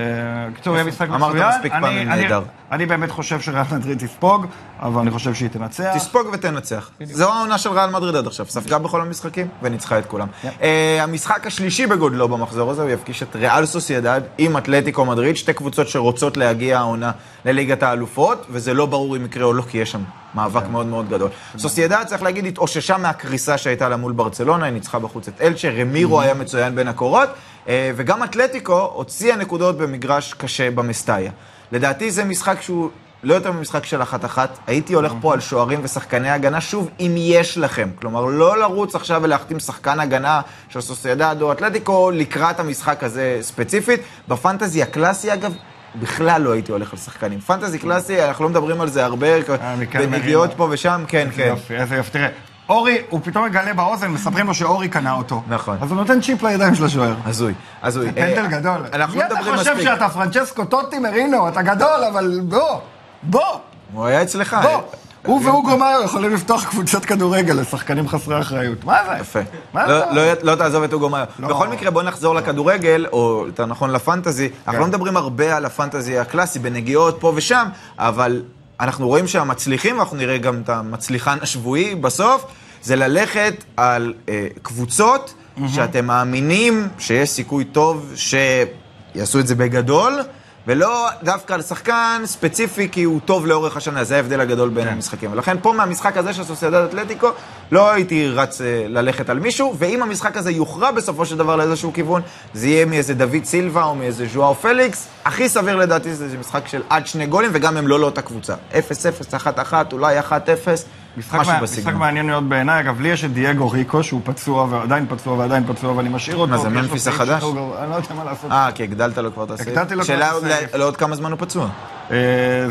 Speaker 2: בקיצור, יהיה משחק
Speaker 1: אמרת
Speaker 2: מצוין.
Speaker 1: מספיק
Speaker 2: אני-
Speaker 1: פעמים
Speaker 2: אני-
Speaker 1: נהדר.
Speaker 2: אני באמת חושב שריאל מדריד תספוג, אבל אני חושב שהיא תנצח.
Speaker 1: תספוג ותנצח. זו העונה של ריאל מדריד עד עכשיו, ספגה בכל המשחקים וניצחה את כולם. אה, המשחק השלישי בגודלו במחזור הזה, הוא יפגיש את ריאל סוסיידד עם אתלטיקו מדריד, שתי קבוצות שרוצות להגיע העונה לליגת האלופות, וזה לא ברור אם יקרה או לא, כי יש שם מאבק מאוד מאוד גדול. סוסיידד, צריך להגיד, התאוששה מהקריסה שהייתה לה מול ברצלונה, היא ניצחה בחוץ את אלצ'ה, רמירו היה מצוין בין הקורות, אה, וגם אתלטיקו הוציאה נקודות במגרש קשה במסטאיה. לדעתי זה משחק שהוא לא יותר ממשחק של אחת-אחת. הייתי
Speaker 2: אה.
Speaker 1: הולך פה על שוערים ושחקני הגנה, שוב, אם יש לכם. כלומר, לא לרוץ עכשיו ולהחתים שחקן הגנה של סוסיידד או אתלטיקו לקראת המשחק הזה ספציפית. בפנטזי הקלאסי, אגב, בכלל לא הייתי הולך על שחקנים. פנטזי קלאסי, אנחנו לא מדברים על זה הרבה,
Speaker 2: אה. מכאן
Speaker 1: בנגיעות
Speaker 2: מרינו.
Speaker 1: פה ושם, כן,
Speaker 2: איזה
Speaker 1: כן.
Speaker 2: יופי, איזה יופי. תראה, אורי, הוא פתאום מגלה באוזן, מספרים לו שאורי קנה אותו.
Speaker 1: נכון.
Speaker 2: אז הוא נותן צ'יפ לידיים של השוער.
Speaker 1: הזוי, הזוי.
Speaker 2: פנדל
Speaker 1: אה,
Speaker 2: גדול.
Speaker 1: אנחנו לא מדברים
Speaker 2: מי אתה
Speaker 1: מספיק.
Speaker 2: חושב שאתה פרנצ'סקו טוטי מרינו? אתה גדול, אבל בוא, בוא,
Speaker 1: הוא היה אצלך.
Speaker 2: בוא.
Speaker 1: אה,
Speaker 2: הוא והוגו מאיו יכולים לפתוח קבוצת כדורגל לשחקנים חסרי אחריות. מה זה?
Speaker 1: יפה.
Speaker 2: מה
Speaker 1: לא-
Speaker 2: זה?
Speaker 1: לא- לא תעזוב את אוגו מאיו.
Speaker 2: לא.
Speaker 1: בכל מקרה, בוא נחזור לכדורגל, או יותר נכון לפנטזי. אנחנו
Speaker 2: כן.
Speaker 1: לא מדברים הרבה על הפנטזי הקלאסי, בנגיעות פה ושם, אבל אנחנו רואים שהמצליחים, ואנחנו נראה גם את המצליחן השבועי בסוף, זה ללכת על אה, קבוצות שאתם מאמינים שיש סיכוי טוב שיעשו את זה בגדול. ולא דווקא על שחקן ספציפי, כי הוא טוב לאורך השנה, זה ההבדל הגדול
Speaker 2: כן.
Speaker 1: בין המשחקים. ולכן פה מהמשחק הזה של סוסיידד אתלטיקו, לא הייתי רץ אה, ללכת על מישהו, ואם המשחק הזה יוכרע בסופו של דבר לאיזשהו כיוון, זה יהיה מאיזה דוד סילבה או מאיזה ז'ואר פליקס. הכי סביר לדעתי זה משחק של עד שני גולים, וגם הם לא לאותה קבוצה. 0-0, 1-1, אולי 1-0,
Speaker 2: משחק
Speaker 1: משהו
Speaker 2: מה- משחק
Speaker 1: בסגנון.
Speaker 2: מעניין מאוד בעיניי, אגב, לי יש את דייגו ריקו, שהוא פצוע ועדיין פצוע ועדיין פצוע, ואני משאיר אותו.
Speaker 1: מה, זה
Speaker 2: כי יש לו
Speaker 1: ממפיס
Speaker 2: סעיף
Speaker 1: החדש?
Speaker 2: שחרור גרוע, אני לא יודע מה לעשות.
Speaker 1: אה, כי הגדלת לו כבר את הסעיף.
Speaker 2: הגדלתי לו כבר את
Speaker 1: שאלה
Speaker 2: הסעיף.
Speaker 1: עוד ל- לעוד כמה זמן הוא פצוע.
Speaker 2: אה,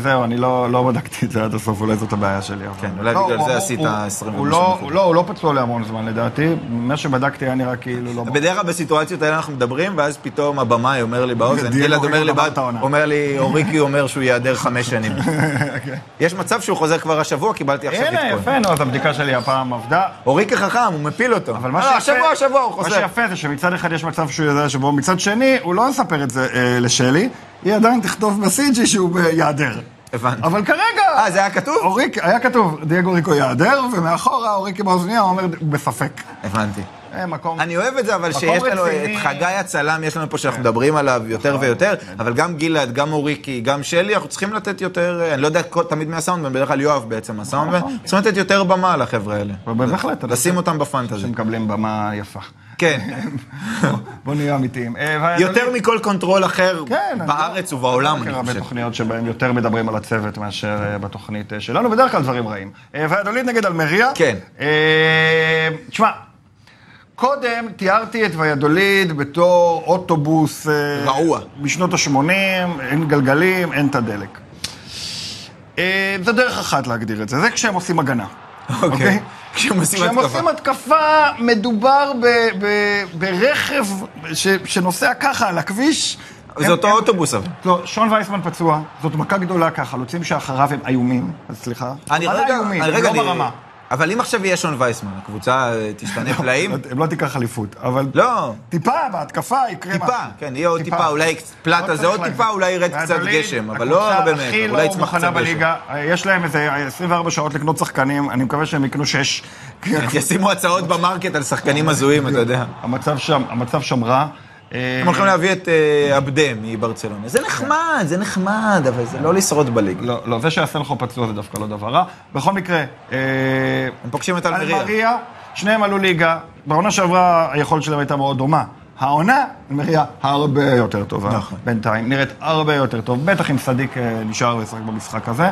Speaker 2: זהו, אני לא לא בדקתי את זה עד הסוף, אולי זאת הבעיה שלי. אבל-
Speaker 1: כן, אולי
Speaker 2: לא,
Speaker 1: בגלל
Speaker 2: הוא-
Speaker 1: זה
Speaker 2: הוא-
Speaker 1: עשית
Speaker 2: הוא-
Speaker 1: 20
Speaker 2: הוא
Speaker 1: ומשהו
Speaker 2: לא-
Speaker 1: נקודות.
Speaker 2: לא, הוא לא פצוע להמון זמן לדעתי, מה שבדקתי היה נראה כאילו לא...
Speaker 1: בדרך כלל בסיטואציות האלה אנחנו מדברים, ואז פתאום הבמאי אומר לי באוזן,
Speaker 2: דיאגו
Speaker 1: גלעד אומר לי
Speaker 2: גמר את
Speaker 1: באוזן,
Speaker 2: העונה.
Speaker 1: אומר לי, אוריקי אומר שהוא ייעדר חמש שנים. יש מצב שהוא חוזר כבר השבוע, קיבלתי עכשיו
Speaker 2: אוקיי. הנה,
Speaker 1: עדכון.
Speaker 2: יפה, נו, אז הבדיקה שלי הפעם עבדה.
Speaker 1: אוריקי חכם, הוא מפיל אותו.
Speaker 2: אבל מה
Speaker 1: לא,
Speaker 2: שיפה,
Speaker 1: השבוע, השבוע הוא
Speaker 2: מה
Speaker 1: חוזר.
Speaker 2: שיפה זה שמצד אחד יש מצב שהוא יודע שבו, מצד שני, הוא לא מספר את זה אה, לשלי, היא עדיין תכתוב בסינג'י שהוא אה, ייעדר.
Speaker 1: הבנתי.
Speaker 2: אבל כרגע,
Speaker 1: אה, זה היה כתוב?
Speaker 2: אוריק, היה כתוב, דייגו ריקו ייעדר, ומאחורה אוריקי באוזניה אומר, הוא בספק.
Speaker 1: הבנתי.
Speaker 2: אה, מקום...
Speaker 1: אני אוהב את זה, אבל
Speaker 2: מקום
Speaker 1: שיש לנו את
Speaker 2: רציני. כן. נכון.
Speaker 1: חגי הצלם, יש לנו פה שאנחנו מדברים עליו יותר ויותר, אבל גם גלעד, גם אוריקי, גם שלי, אנחנו צריכים לתת יותר, אה, אני לא יודע כל- תמיד מהסאונדמן, בדרך כלל יואב בעצם הסאונדמן, צריכים לתת יותר במה לחבר'ה האלה.
Speaker 2: נכון. בהחלט.
Speaker 1: לשים אותם בפנטזי.
Speaker 2: שמקבלים במה יפה.
Speaker 1: כן.
Speaker 2: בוא נהיה אמיתיים. אה, ואדוני-
Speaker 1: יותר מכל קונטרול אחר
Speaker 2: כן, אני לא-
Speaker 1: בארץ ובעולם,
Speaker 2: אני
Speaker 1: אני
Speaker 2: הרבה
Speaker 1: חושב.
Speaker 2: תוכניות שבהן יותר מדברים על הצוות מאשר אה, בתוכנית אה, שלנו, בדרך כלל דברים רעים. אה, ויאדוליד נגד אלמריה.
Speaker 1: כן.
Speaker 2: אה, תשמע, קודם תיארתי את ויאדוליד בתור אוטובוס... אה,
Speaker 1: רעוע.
Speaker 2: משנות ה-80, אין גלגלים, אין את הדלק. אה, זה דרך אחת להגדיר את זה, זה כשהם עושים הגנה.
Speaker 1: אוקיי. כשהם עושים
Speaker 2: כשהם
Speaker 1: התקפה.
Speaker 2: עושים התקפה, מדובר ב, ב, ברכב ש, שנוסע ככה על הכביש.
Speaker 1: זה
Speaker 2: הם-
Speaker 1: אותו
Speaker 2: הם-
Speaker 1: אוטובוס אבל.
Speaker 2: לא, שון וייסמן פצוע, זאת מכה גדולה ככה, חלוצים שאחריו הם איומים, אז סליחה.
Speaker 1: אני
Speaker 2: אבל
Speaker 1: רגע,
Speaker 2: איומים,
Speaker 1: אני
Speaker 2: הם
Speaker 1: רגע,
Speaker 2: לא
Speaker 1: אני-
Speaker 2: ברמה.
Speaker 1: אבל אם עכשיו יהיה שון וייסמן, הקבוצה אה, תשתנה פלאים?
Speaker 2: הם לא תיקח אליפות, אבל...
Speaker 1: לא.
Speaker 2: טיפה בהתקפה יקרה
Speaker 1: טיפה,
Speaker 2: משהו.
Speaker 1: כן, יהיה עוד טיפה, אולי קצת- פלטה
Speaker 2: לא
Speaker 1: זה עוד
Speaker 2: צריך
Speaker 1: טיפה,
Speaker 2: להגזים.
Speaker 1: אולי ירד
Speaker 2: והדליד,
Speaker 1: קצת גשם, אבל לא הרבה מעבר,
Speaker 2: הקבוצה
Speaker 1: אולי
Speaker 2: הכי
Speaker 1: יצמח
Speaker 2: לא מוכנה
Speaker 1: קצת גשם.
Speaker 2: בליגה, יש להם איזה 24 שעות לקנות שחקנים, אני מקווה שהם יקנו שש.
Speaker 1: כן.
Speaker 2: כי
Speaker 1: ישימו הצעות במרקט על שחקנים הזויים, אתה יודע.
Speaker 2: המצב שם, המצב שם רע. אה,
Speaker 1: הם הולכים להביא את אה, עבדה מברצלונה. זה נחמד, זה נחמד, אבל זה לא לשרוד בליגה.
Speaker 2: לא, לא, זה שהסלחו פצוע זה דווקא לא דבר רע. בכל מקרה, אה,
Speaker 1: הם פוגשים את אלמריה.
Speaker 2: אלמריה, שניהם עלו ליגה, בעונה שעברה היכולת שלהם הייתה מאוד דומה. העונה, אלמריה הרבה יותר טובה.
Speaker 1: נכון.
Speaker 2: בינתיים, נראית הרבה יותר טוב, בטח אם סדיק אה, נשאר וישחק במשחק הזה.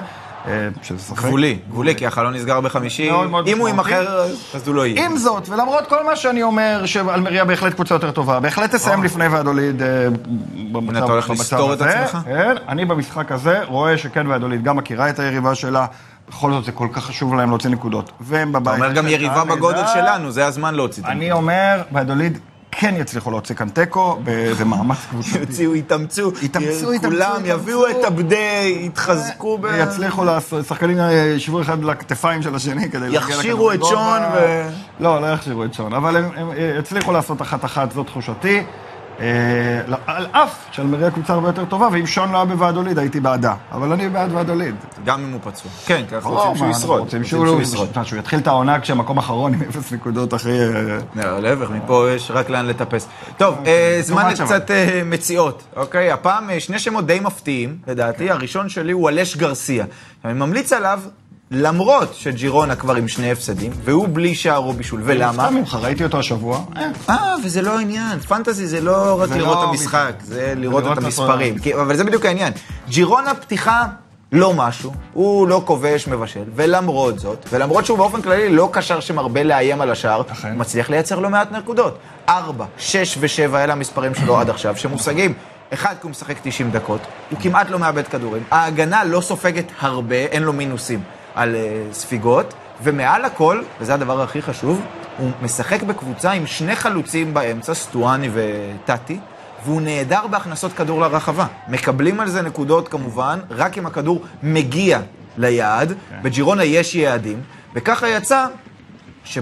Speaker 2: אה, שזה שחק.
Speaker 1: גבולי, גבולי, כי החלון נסגר בחמישי.
Speaker 2: מאוד מאוד
Speaker 1: אם הוא
Speaker 2: משמעותי.
Speaker 1: יימכר, אז הוא לא יהיה.
Speaker 2: עם זאת, ולמרות כל מה שאני אומר, שאלמריה בהחלט קבוצה יותר טובה, בהחלט תסיים לפני והדוליד אה, במצב
Speaker 1: אתה הולך
Speaker 2: במצב
Speaker 1: לסתור את
Speaker 2: הזה.
Speaker 1: עצמך?
Speaker 2: כן, אני במשחק הזה רואה שכן והדוליד גם מכירה את היריבה שלה, בכל זאת זה כל כך חשוב להם להוציא נקודות. והם בבית.
Speaker 1: אתה אומר גם
Speaker 2: של
Speaker 1: יריבה
Speaker 2: קהל
Speaker 1: בגודל
Speaker 2: מידע.
Speaker 1: שלנו, זה הזמן להוציא את זה.
Speaker 2: אני אומר, והדוליד כן יצליחו להוציא כאן תיקו, באיזה מאמץ קבוצתי.
Speaker 1: יוציאו, יתאמצו,
Speaker 2: יתאמצו, יתאמצו,
Speaker 1: כולם
Speaker 2: יתאמצו.
Speaker 1: יביאו את עבדה, יתחזקו, ב-
Speaker 2: יצליחו, לעשות- שחקנים אה, ישבו אחד לכתפיים של השני כדי להגיע לכדורגל.
Speaker 1: יכשירו את שון ו-
Speaker 2: לא, לא יכשירו את שון, אבל הם- הם אה, יצליחו לעשות אחת-אחת, זו תחושתי. אה, לא- על אף שאלמריה קבוצה הרבה יותר טובה, ואם שון לא היה בוועדוליד, הייתי בעדה. אבל אני בעד ועדוליד.
Speaker 1: גם אם הוא פצוע. כן, כי אנחנו
Speaker 2: ברור,
Speaker 1: רוצים שהוא
Speaker 2: מה, אנחנו
Speaker 1: ישרוד.
Speaker 2: רוצים
Speaker 1: רוצים
Speaker 2: שהוא לא
Speaker 1: שהוא
Speaker 2: ישרוד.
Speaker 1: ישרוד.
Speaker 2: תשמע, שהוא יתחיל את העונה כשמקום אחרון עם אפס נקודות אחרי... אה,
Speaker 1: לא, להפך, מפה יש רק לאן לטפס. טוב,
Speaker 2: אוקיי,
Speaker 1: אה, זמן
Speaker 2: much, אבל.
Speaker 1: לקצת אה, מציאות, אוקיי? הפעם אה, שני שמות די מפתיעים, לדעתי.
Speaker 2: כן.
Speaker 1: הראשון שלי הוא אלש גרסיה. אני ממליץ עליו, למרות שג'ירונה כבר עם שני הפסדים, והוא בלי שער או בישול. ולמה?
Speaker 2: סתם ממך, ראיתי אותו השבוע. אה,
Speaker 1: אה, וזה לא העניין. פנטזי זה לא רק
Speaker 2: זה
Speaker 1: לראות
Speaker 2: לא
Speaker 1: את המשחק,
Speaker 2: משחק.
Speaker 1: זה לראות את
Speaker 2: לראות את
Speaker 1: המספרים. כי- אבל זה בדיוק העניין. ג'ירונה פתיחה לא משהו, הוא לא כובש מבשל, ולמרות זאת, ולמרות שהוא באופן כללי לא קשר שמרבה לאיים על השאר,
Speaker 2: אכן.
Speaker 1: הוא מצליח לייצר לא מעט נקודות. ארבע, שש ושבע, אלה המספרים שלו עד עכשיו, שמושגים. אחד, כי הוא משחק 90 דקות, הוא כמעט לא מאבד כדורים, ההגנה לא סופגת הרבה, אין לו מינוסים על אה, ספיגות, ומעל הכל, וזה הדבר הכי חשוב, הוא משחק בקבוצה עם שני חלוצים באמצע, סטואני וטאטי, והוא נהדר בהכנסות כדור לרחבה. מקבלים על זה נקודות כמובן, רק אם הכדור מגיע ליעד, בג'ירונה יש יעדים, וככה יצא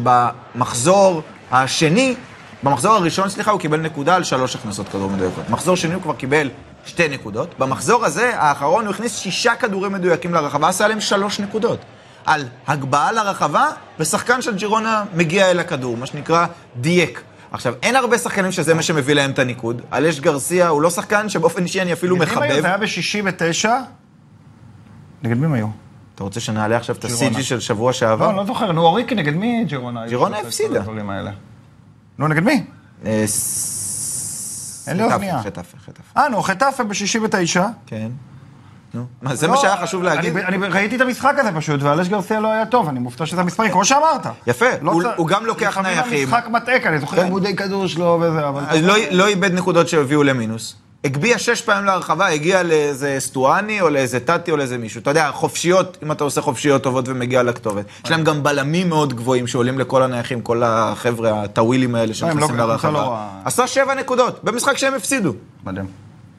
Speaker 1: שבמחזור השני, במחזור הראשון, סליחה, הוא קיבל נקודה על שלוש הכנסות כדור מדויקות. מחזור שני הוא כבר קיבל שתי נקודות. במחזור הזה, האחרון, הוא הכניס שישה כדורים מדויקים לרחבה, עשה עליהם שלוש נקודות. על הגבהה לרחבה, ושחקן של ג'ירונה מגיע אל הכדור, מה שנקרא דייק. עכשיו, אין הרבה שחקנים שזה מה שמביא להם את הניקוד. אלש גרסיה הוא לא שחקן שבאופן אישי אני אפילו
Speaker 2: נגד מי הם היו?
Speaker 1: מחבב.
Speaker 2: זה היה ב-69? נגד מי הם היו?
Speaker 1: אתה רוצה שנעלה עכשיו את
Speaker 2: ג'ירונה.
Speaker 1: ה-CG של שבוע שעבר?
Speaker 2: לא, אני לא זוכר, נו אוריקי נגד מי ג'ירונה? היו
Speaker 1: ג'ירונה
Speaker 2: שעשו את
Speaker 1: הפסידה.
Speaker 2: הדברים האלה. נו, נגד מי?
Speaker 1: אה,
Speaker 2: אין לי
Speaker 1: חטף,
Speaker 2: אוזנייה.
Speaker 1: חטף, חטף.
Speaker 2: אה, נו, חטאפה ב-69.
Speaker 1: כן. נו, מה, זה מה שהיה חשוב להגיד?
Speaker 2: לא, אני אני ראיתי את המשחק הזה פשוט, ואלש גרסיה לא היה טוב, אני מופתע שזה המספרים, כמו שאמרת.
Speaker 1: יפה,
Speaker 2: לא
Speaker 1: הוא-
Speaker 2: צריך-
Speaker 1: הוא גם לוקח
Speaker 2: לפעמים
Speaker 1: נייחים.
Speaker 2: המשחק מטעה כאן, אני זוכר עיבודי כדור שלו וזה, אבל...
Speaker 1: אז לא- לא איבד נקודות שהביאו למינוס. הגביה שש פעמים להרחבה, הגיע לאיזה סטואני, או לאיזה טאטי, או לאיזה מישהו. אתה יודע, חופשיות, אם אתה עושה חופשיות טובות ומגיע לכתובת. יש להם גם בלמים מאוד גבוהים שעולים לכל הנייחים, כל החבר'ה, הטאווילים האלה
Speaker 2: לא, הם
Speaker 1: שנכנסים
Speaker 2: לא- הקבוצה לא
Speaker 1: לרחבה.
Speaker 2: רעה.
Speaker 1: עשה שבע נקודות, במשחק שהם הפסידו.
Speaker 2: מדהים.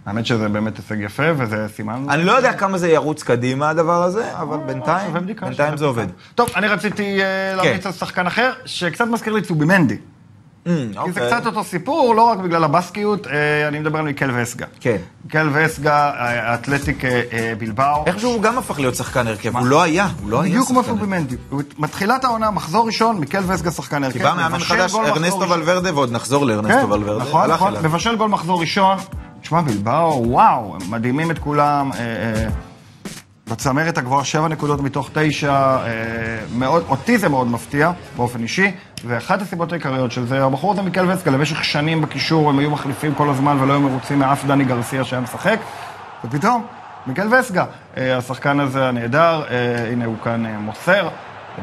Speaker 2: האמת שזה באמת הישג יפה, וזה סימן...
Speaker 1: אני לא יודע כמה זה ירוץ קדימה, הדבר הזה, אבל בינתיים,
Speaker 2: אה, שווה בדיקה,
Speaker 1: בינתיים
Speaker 2: שווה
Speaker 1: זה עובד.
Speaker 2: טוב, אני רציתי אה, להמליץ
Speaker 1: כן.
Speaker 2: על שחקן אחר, שקצת מזכיר לי צובימנדי.
Speaker 1: אמ,
Speaker 2: כי זה
Speaker 1: אוקיי.
Speaker 2: קצת אותו סיפור, לא רק בגלל הבסקיות, אה, אני מדבר על מיקל וסגה.
Speaker 1: כן.
Speaker 2: מיקל וסגה, אה, האתלטיק אה, אה, בלבאו.
Speaker 1: איכשהו הוא גם הפך להיות שחקן הרכב, הוא לא היה, הוא לא היה
Speaker 2: בדיוק כמו
Speaker 1: שחקן הרכב.
Speaker 2: פובימנדי. מתחילת העונה, מחזור ראשון, מיקל וסגה שחקן הרכב.
Speaker 1: כי בא מאמן
Speaker 2: מבשל
Speaker 1: חדש,
Speaker 2: גול מחזור
Speaker 1: ארנסטו
Speaker 2: ראשון.
Speaker 1: ולוורדה, ועוד נחזור לארנסטו
Speaker 2: כן,
Speaker 1: ולוורדה.
Speaker 2: נכון,
Speaker 1: הלך
Speaker 2: נכון.
Speaker 1: אליו.
Speaker 2: מבשל גול מחזור ראשון. תשמע, בלבאו, וואו, הם מדהימים את כולם. אה, אה, בצמרת הגבוהה שבע נקודות מתוך תשע, אה, מאוד, אותי זה מאוד מפתיע, באופן אישי, ואחת הסיבות העיקריות של זה, הבחור הזה מיקל וסקה, למשך שנים בקישור, הם היו מחליפים כל הזמן ולא היו מרוצים מאף דני גרסיה שהיה משחק, ופתאום, מיקל וסקה, אה, השחקן הזה הנהדר, אה, הנה הוא כאן אה, מוסר, אה,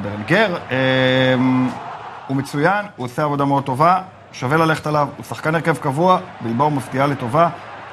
Speaker 2: ברנגר, אה, הוא מצוין, הוא עושה עבודה מאוד טובה, שווה ללכת עליו, הוא שחקן הרכב קבוע, בלבאו מפתיעה לטובה,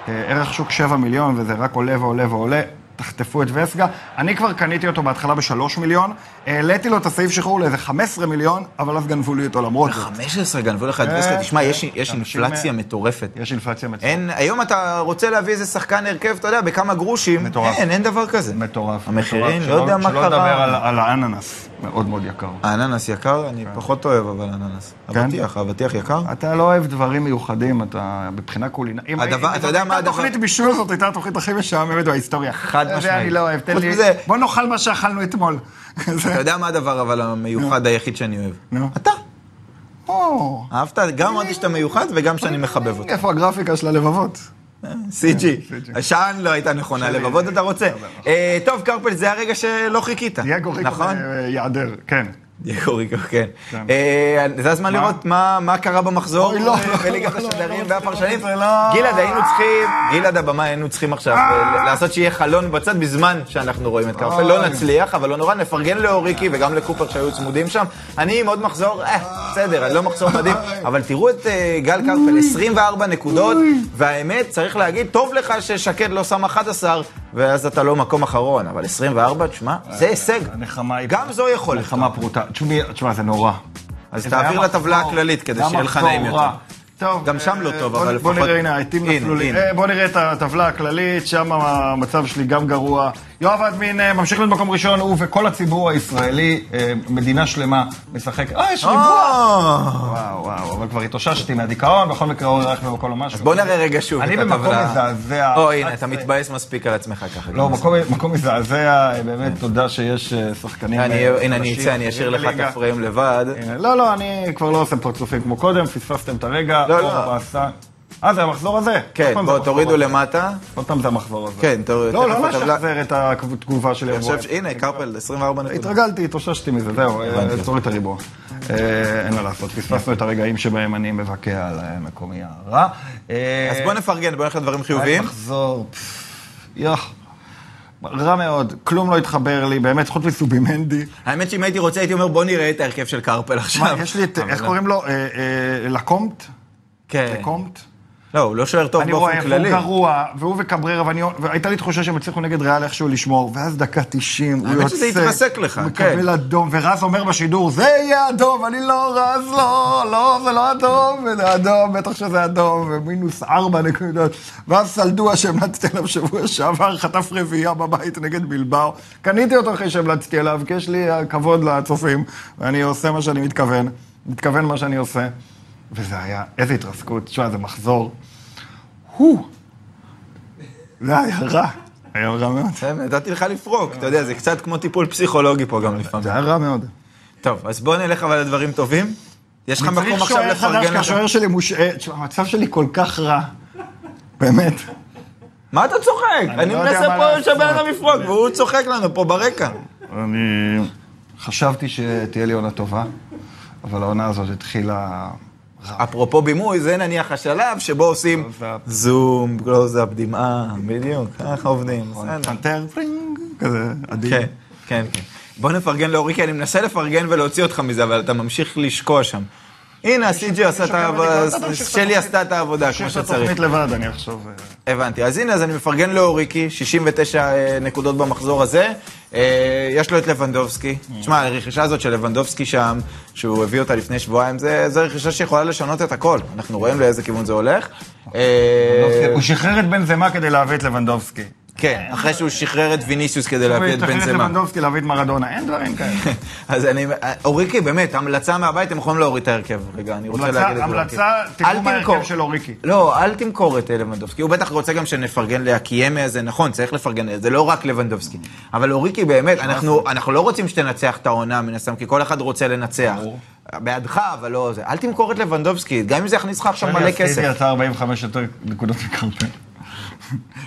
Speaker 2: אה, ערך שוק 7 מיליון, וזה רק עולה ועולה ועולה. תחטפו את וסגה. אני כבר קניתי אותו בהתחלה ב-3 מיליון, העליתי לו את הסעיף שחרור לאיזה 15 מיליון, אבל אז גנבו לי אותו למרות
Speaker 1: נכון.
Speaker 2: זאת.
Speaker 1: 15 גנבו לך את
Speaker 2: כן,
Speaker 1: וסקה, תשמע,
Speaker 2: כן.
Speaker 1: יש- יש
Speaker 2: אנשים- אה,
Speaker 1: אינפלציה מטורפת.
Speaker 2: יש אינפלציה מצוינת.
Speaker 1: אין, היום אתה רוצה להביא איזה שחקן הרכב, אתה יודע, בכמה גרושים,
Speaker 2: מטורף.
Speaker 1: אין, אין דבר כזה.
Speaker 2: מטורף.
Speaker 1: המחירים,
Speaker 2: מטורף.
Speaker 1: לא יודע
Speaker 2: שלא-
Speaker 1: מה
Speaker 2: שלא לדבר על,
Speaker 1: קרה.
Speaker 2: על האננס. מאוד מאוד יקר.
Speaker 1: האננס יקר, אני פחות אוהב, אבל אננס.
Speaker 2: כן?
Speaker 1: אבטיח, אבטיח יקר?
Speaker 2: אתה לא אוהב דברים מיוחדים, אתה מבחינה קולינרית.
Speaker 1: הדבר- אתה יודע מה הדבר-
Speaker 2: התוכנית בישול הזאת הייתה התוכנית הכי משעממת בהיסטוריה.
Speaker 1: חד
Speaker 2: אתה יודע,
Speaker 1: משמעית.
Speaker 2: אני לא אוהב, תן
Speaker 1: חוץ
Speaker 2: לי...
Speaker 1: מזה-
Speaker 2: בוא נאכל מה שאכלנו אתמול. כזה.
Speaker 1: אתה יודע מה הדבר אבל המיוחד היחיד שאני אוהב?
Speaker 2: נו.
Speaker 1: אתה.
Speaker 2: או,
Speaker 1: אהבת גם אותי שאתה מיוחד וגם שאני מחבב אותך.
Speaker 2: איפה הגרפיקה של הלבבות?
Speaker 1: סי.ג'י.
Speaker 2: CG.
Speaker 1: השען לא הייתה נכונה,
Speaker 2: שלי. לא,
Speaker 1: לבבות אתה רוצה. אה, טוב, קרפל, זה הרגע שלא חיכית.
Speaker 2: דייגו ריקו
Speaker 1: נכון?
Speaker 2: אה, יעדר, כן.
Speaker 1: דייגו ריקו, כן.
Speaker 2: כן.
Speaker 1: אה, זה הזמן
Speaker 2: מה?
Speaker 1: לראות מה מה קרה במחזור
Speaker 2: אוי, לא,
Speaker 1: אה, בליגת
Speaker 2: לא, לא, לא
Speaker 1: השדרים
Speaker 2: רוצה
Speaker 1: והפרשנים.
Speaker 2: לראות את זה, לא.
Speaker 1: גלעד, היינו צריכים, גלעד הבמה, היינו צריכים עכשיו אה, לעשות שיהיה חלון בצד בזמן שאנחנו רואים את קרפל. לא
Speaker 2: אוי.
Speaker 1: נצליח, אבל לא נורא, נפרגן לאוריקי וגם לקופר שהיו צמודים שם. אני עם עוד מחזור, אה, בסדר, לא מחזור מדהים, אבל תראו את אה, גל קרפל, 24 נקודות, והאמת, צריך להגיד, טוב לך ששקד לא שם 11, ואז אתה לא מקום אחרון, אבל 24, תשמע, זה הישג.
Speaker 2: הנחמה היא-
Speaker 1: גם זו יכולת.
Speaker 2: נחמה פרוטה. תשמעי, תשמע, זה נורא.
Speaker 1: אז
Speaker 2: זה
Speaker 1: תעביר
Speaker 2: היה
Speaker 1: לטבלה
Speaker 2: מחזור-
Speaker 1: הכללית כדי
Speaker 2: זה היה
Speaker 1: שיהיה לך
Speaker 2: מחזור
Speaker 1: נעים
Speaker 2: רע.
Speaker 1: יותר.
Speaker 2: טוב,
Speaker 1: גם שם לא
Speaker 2: אה,
Speaker 1: טוב,
Speaker 2: בוא-
Speaker 1: אבל
Speaker 2: בוא
Speaker 1: לפחות-
Speaker 2: נראה, הנה, העטים
Speaker 1: הנה,
Speaker 2: נפלו לי.
Speaker 1: הנה.
Speaker 2: אה, בוא נראה את הטבלה הכללית, שם המצב שלי גם גרוע. יואב אדמין אה, ממשיך להיות מקום ראשון, הוא וכל הציבור הישראלי, אה, מדינה שלמה, משחק. אה, יש ריבוע!
Speaker 1: אה,
Speaker 2: וואו, וואו, אבל כבר התאוששתי מהדיכאון, בכל מקרה אורי רייך במקום או משהו.
Speaker 1: בוא נראה רגע שוב
Speaker 2: אני
Speaker 1: את
Speaker 2: במקום
Speaker 1: הטבלה.
Speaker 2: מזעזע.
Speaker 1: או, הנה, אתה
Speaker 2: 11.
Speaker 1: מתבאס מספיק על עצמך ככה.
Speaker 2: לא, מקום- מקום מזעזע, אה, באמת תודה שיש אה, שחקנים...
Speaker 1: אני-
Speaker 2: אה,
Speaker 1: הנה, אני
Speaker 2: חדשים
Speaker 1: אצא, אני אשאיר לך את
Speaker 2: בליגה.
Speaker 1: הפריים לבד.
Speaker 2: הנה, לא, לא, אני כבר לא עושה פרצופים כמו קודם, פספסתם את הרגע.
Speaker 1: לא,
Speaker 2: אור
Speaker 1: לא.
Speaker 2: בעשה- אה, זה המחזור הזה? עוד
Speaker 1: כן,
Speaker 2: פעם זה
Speaker 1: בוא,
Speaker 2: המחזור
Speaker 1: תורידו
Speaker 2: הזה.
Speaker 1: למטה.
Speaker 2: עוד פעם זה המחזור הזה.
Speaker 1: כן, תורידו.
Speaker 2: לא, לא לשחזר אה, את התגובה של
Speaker 1: אני חושב
Speaker 2: הריבוע.
Speaker 1: ש... הנה, קרפל, 24 נקודות.
Speaker 2: התרגלתי, התאוששתי מזה, זהו, אה,
Speaker 1: הבנתי.
Speaker 2: תוריד את הריבוע. אה, אין מה לעשות, פספסנו את הרגעים שבהם אני מבקע על אה, מקומי הרע. אה,
Speaker 1: אז בוא נפרגן, בוא נלך לדברים חיוביים.
Speaker 2: מחזור, יוח. רע מאוד, כלום לא התחבר לי, באמת, חוץ מסובימנדי.
Speaker 1: האמת שאם הייתי רוצה, הייתי אומר, בוא נראה את ההרכב של קרפל
Speaker 2: מה,
Speaker 1: עכשיו.
Speaker 2: יש לי את,
Speaker 1: אבל
Speaker 2: איך
Speaker 1: לא.
Speaker 2: קוראים לו? אה, אה, לקומט?
Speaker 1: כן.
Speaker 2: לקומט?
Speaker 1: לא, הוא לא שוער טוב
Speaker 2: אני רואה,
Speaker 1: באופן
Speaker 2: הוא
Speaker 1: כללי.
Speaker 2: גרוע, והוא וקבררה, ואני- והייתה לי תחושה שהם הצליחו נגד ריאל איכשהו לשמור, ואז דקה 90, הוא יוצא.
Speaker 1: האמת שזה התרסק לך,
Speaker 2: הוא
Speaker 1: כן.
Speaker 2: מקבל אדום, ורז אומר בשידור, זה יהיה אדום, אני לא, רז לא, לא, זה לא אדום, זה אדום, בטח שזה אדום, ומינוס ארבע נקודות. ואז סלדוע שהמלצתי עליו שבוע שעבר, חטף רביעייה בבית נגד בלבאו. קניתי אותו אחרי שהמלצתי עליו, כי יש לי הכבוד לצופים, ואני עושה מה שאני מתכוון, מתכוון מה שאני עושה. וזה היה, איזה התרסקות, תשמע, זה מחזור. הו! זה היה רע. היה רע מאוד.
Speaker 1: באמת, נתתי לך לפרוק, אתה יודע, זה קצת כמו טיפול פסיכולוגי פה גם לפעמים.
Speaker 2: זה היה רע מאוד.
Speaker 1: טוב, אז בוא נלך אבל לדברים טובים. יש לך
Speaker 2: צריך
Speaker 1: מקום עכשיו
Speaker 2: שוער חדש, כי
Speaker 1: לפרגן לך.
Speaker 2: השוער שלי מושעה. תשמע, המצב שלי כל כך רע. באמת.
Speaker 1: מה אתה צוחק? אני
Speaker 2: לא יודע
Speaker 1: מנסה
Speaker 2: מה
Speaker 1: פה
Speaker 2: לעשות.
Speaker 1: שהבן אדם יפרוק, והוא צוחק לנו פה ברקע.
Speaker 2: אני חשבתי שתהיה לי עונה טובה, אבל העונה הזאת התחילה... רע.
Speaker 1: אפרופו בימוי, זה נניח השלב שבו עושים
Speaker 2: קלוז-אפ.
Speaker 1: זום, קלוזאפ, דמעה, בדיוק, ככה עובדים,
Speaker 2: נכון.
Speaker 1: בסדר.
Speaker 2: פנתר, פרינג, כזה עדין.
Speaker 1: כן, כן, כן. בוא נפרגן לאורי, כי אני מנסה לפרגן ולהוציא אותך מזה, אבל אתה ממשיך לשקוע שם. הנה, ה-CG עשה את
Speaker 2: שוקל
Speaker 1: העבודה,
Speaker 2: בדיקות, אתה תמשיך את
Speaker 1: שלי
Speaker 2: התוכנית.
Speaker 1: עשתה את העבודה כמו
Speaker 2: שיש את
Speaker 1: שצריך.
Speaker 2: התוכנית לבד, אני עכשיו... אה,
Speaker 1: הבנתי. אז הנה, אז אני מפרגן לאוריקי, 69 אה, נקודות במחזור הזה. אה, יש לו את לבנדובסקי. תשמע, הרכישה הזאת של לבנדובסקי שם, שהוא הביא אותה לפני שבועיים, זה זו רכישה שיכולה לשנות את הכל. אנחנו רואים לאיזה כיוון זה הולך. אה,
Speaker 2: לא, הוא שחרר את בנזמה כדי להביא את לבנדובסקי.
Speaker 1: כן, אחרי שהוא שחרר את ויניסיוס כדי להביא את
Speaker 2: הוא שחרר את
Speaker 1: בנזמה.
Speaker 2: לבנדובסקי להביא את מרדונה, אין דברים כאלה.
Speaker 1: אז אני, אוריקי, באמת, המלצה מהבית, הם יכולים להוריד את ההרכב. רגע, אני רוצה
Speaker 2: המלצה-
Speaker 1: להגיד את זה.
Speaker 2: המלצה,
Speaker 1: לאוריקי.
Speaker 2: תראו
Speaker 1: אל
Speaker 2: מה ההרכב
Speaker 1: תמכור.
Speaker 2: של אוריקי.
Speaker 1: לא, אל תמכור את אה, לבנדובסקי. הוא בטח רוצה גם שנפרגן לאקיימה הזה, נכון, צריך לפרגן, לזה, זה לא רק לבנדובסקי. אבל אוריקי, באמת, אנחנו אנחנו לא רוצים שתנצח את העונה, מן הסתם, כי כל אחד רוצה לנצח.
Speaker 2: ברור.
Speaker 1: בעדך, אבל לא זה. אל תמכור את לבנדובסקי, גם אם זה יכניס לך עכשיו מלא
Speaker 2: רגע, אז
Speaker 1: כסף.
Speaker 2: טיבי עשה 45 יותר נקודות מקרפל.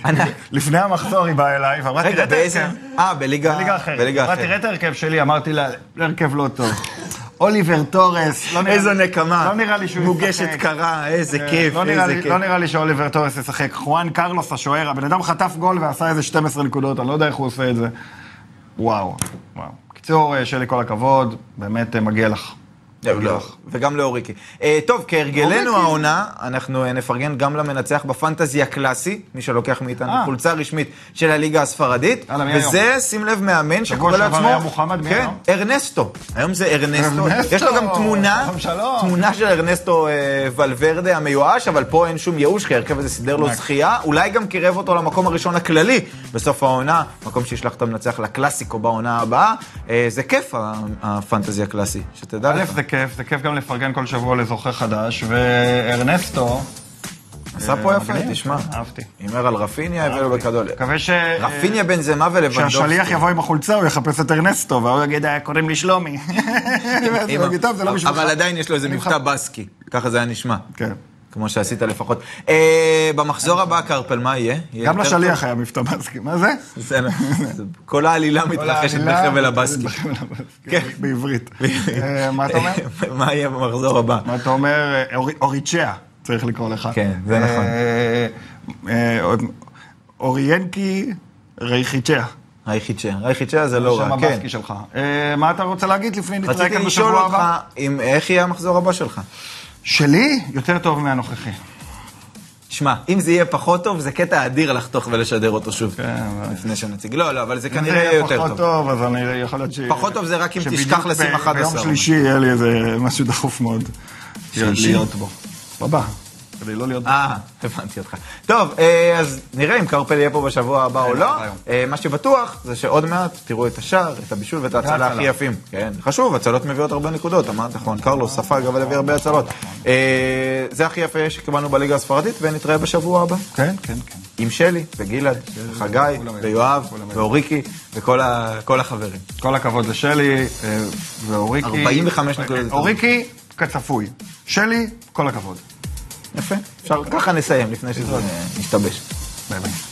Speaker 1: אני-
Speaker 2: לפני המחזור היא באה אליי ואמרה, תראה
Speaker 1: רגע,
Speaker 2: את ההרכב.
Speaker 1: באיזה... אה, בליגה
Speaker 2: בליגה אחרת.
Speaker 1: בליגה
Speaker 2: אמרה, תראה את ההרכב שלי, אמרתי לה, הרכב לא טוב. אוליבר טורס, לא נראה
Speaker 1: איזו
Speaker 2: לי-
Speaker 1: נקמה.
Speaker 2: לא נראה לי שהוא
Speaker 1: מוגשת קרה, איזה
Speaker 2: אה,
Speaker 1: כיף,
Speaker 2: לא נראה
Speaker 1: איזה
Speaker 2: לי-
Speaker 1: כיף.
Speaker 2: לא נראה לי שאוליבר טורס ישחק. חואן קרלוס השוער, הבן אדם חטף גול ועשה איזה 12 נקודות, אני לא יודע איך הוא עושה את זה. וואו, וואו. קיצור, אה, שלי כל הכבוד, באמת אה, מגיע לך.
Speaker 1: לא, לא, וגם לאוריקי. אה, טוב, כהרגלנו
Speaker 2: אוריקי.
Speaker 1: העונה, אנחנו אה, נפרגן גם למנצח בפנטזי הקלאסי, מי שלוקח מאיתנו
Speaker 2: אה.
Speaker 1: חולצה רשמית של הליגה הספרדית.
Speaker 2: יאללה, מי
Speaker 1: וזה, שים לב, מאמן שקורא
Speaker 2: שעבר
Speaker 1: לעצמו...
Speaker 2: היה מוחמד, מי
Speaker 1: כן,
Speaker 2: היום?
Speaker 1: ארנסטו. היום זה ארנסטו.
Speaker 2: ארנסטו,
Speaker 1: יש לו גם תמונה,
Speaker 2: שלום, שלום.
Speaker 1: תמונה של ארנסטו אה, ולוורדה המיואש, אבל פה אין שום ייאוש, כי ההרכב הזה סידר לו
Speaker 2: ענק.
Speaker 1: זכייה, אולי גם קירב אותו למקום הראשון הכללי בסוף העונה, מקום שישלח את המנצח לקלאסיקו בעונה הבאה. אה, זה כיף, ה- הפנטזי הקלאסי, שתדע
Speaker 2: א',
Speaker 1: לך.
Speaker 2: זה כיף, זה כיף גם לפרגן כל שבוע לזוכה חדש, וארנסטו...
Speaker 1: עשה
Speaker 2: אה,
Speaker 1: פה יפה,
Speaker 2: מגניב.
Speaker 1: תשמע.
Speaker 2: אהבתי.
Speaker 1: הימר על רפיניה, הבאנו בכדול.
Speaker 2: מקווה ש...
Speaker 1: רפיניה בן זמה
Speaker 2: כשהשליח
Speaker 1: ולבנדובסקי.
Speaker 2: יבוא עם החולצה, הוא יחפש את ארנסטו, והוא יגיד, "אה, קוראים לי שלומי. ואז הוא יגיד, "טוב, זה לא בשבילך."
Speaker 1: אבל עדיין יש לו איזה
Speaker 2: אני
Speaker 1: מבטא
Speaker 2: מחפ-
Speaker 1: בסקי, ככה זה היה נשמע.
Speaker 2: כן.
Speaker 1: כמו שעשית לפחות. אה, במחזור הבא, קרפל, מה יהיה? יהיה
Speaker 2: גם
Speaker 1: יותר טוב?
Speaker 2: לשליח היה מבטא בסקי, מה זה?
Speaker 1: זה לא- זה- כל העלילה מתרחשת
Speaker 2: העלילה-
Speaker 1: בחבל הבסקי.
Speaker 2: בחבל הבסקי,
Speaker 1: כן.
Speaker 2: בעברית. אה, מה אתה אומר?
Speaker 1: מה יהיה במחזור הבא?
Speaker 2: מה אתה אומר? אה, אור- אוריצ'יה, צריך לקרוא לך.
Speaker 1: כן, זה נכון.
Speaker 2: אה, אה, עוד- אוריינקי רייחיצ'יה.
Speaker 1: רייחיצ'ה. רייחיצ'ה זה לא
Speaker 2: שם
Speaker 1: רע, כן.
Speaker 2: הבסקי שלך. אה, מה אתה רוצה להגיד לפני נתראה
Speaker 1: רציתי
Speaker 2: כאן
Speaker 1: לשאול
Speaker 2: בשבוע
Speaker 1: אותך,
Speaker 2: הבא?
Speaker 1: אם- איך יהיה המחזור הבא שלך?
Speaker 2: שלי יותר טוב מהנוכחי.
Speaker 1: שמע, אם זה יהיה פחות טוב, זה קטע אדיר לחתוך ולשדר אותו שוב.
Speaker 2: כן, אבל-
Speaker 1: לפני שנציג. לא, לא, אבל זה
Speaker 2: אם זה
Speaker 1: כנראה יהיה יותר
Speaker 2: פחות
Speaker 1: טוב.
Speaker 2: טוב, אז אני יכול להיות ש...
Speaker 1: פחות טוב זה רק אם
Speaker 2: שבדיוק
Speaker 1: תשכח לשים
Speaker 2: ב-
Speaker 1: 11.
Speaker 2: ביום שלישי יהיה לי איזה משהו דחוף מאוד.
Speaker 1: שלישי?
Speaker 2: להיות בו. בבא. כדי לא להיות...
Speaker 1: אה, הבנתי אותך. טוב, אה, אז נראה אם קרפל יהיה פה בשבוע הבא או
Speaker 2: אה,
Speaker 1: לא.
Speaker 2: היום.
Speaker 1: אה, מה שבטוח זה שעוד מעט תראו את השער, את הבישול ואת ההצלה
Speaker 2: וההצלה.
Speaker 1: הכי יפים. כן, חשוב, הצלות מביאות הרבה נקודות, אמרת נכון, קרלוס ספג אבל הביא הרבה הצלות. אה, זה הכי יפה שקיבלנו בליגה הספרדית, ונתראה בשבוע הבא.
Speaker 2: כן, כן, כן.
Speaker 1: עם שלי, וגלעד, וחגי,
Speaker 2: כולם ידעו,
Speaker 1: ויואב,
Speaker 2: כולם ידעו.
Speaker 1: ואוריקי, וכל ה- כל החברים.
Speaker 2: כל הכבוד לשלי אה, ואוריקי.
Speaker 1: 45
Speaker 2: אה,
Speaker 1: נקודות.
Speaker 2: אוריקי, כצפוי. שלי, כל הכבוד.
Speaker 1: יפה. אפשר ככה נסיים לפני שזה אה, משתבש.
Speaker 2: ביי ביי.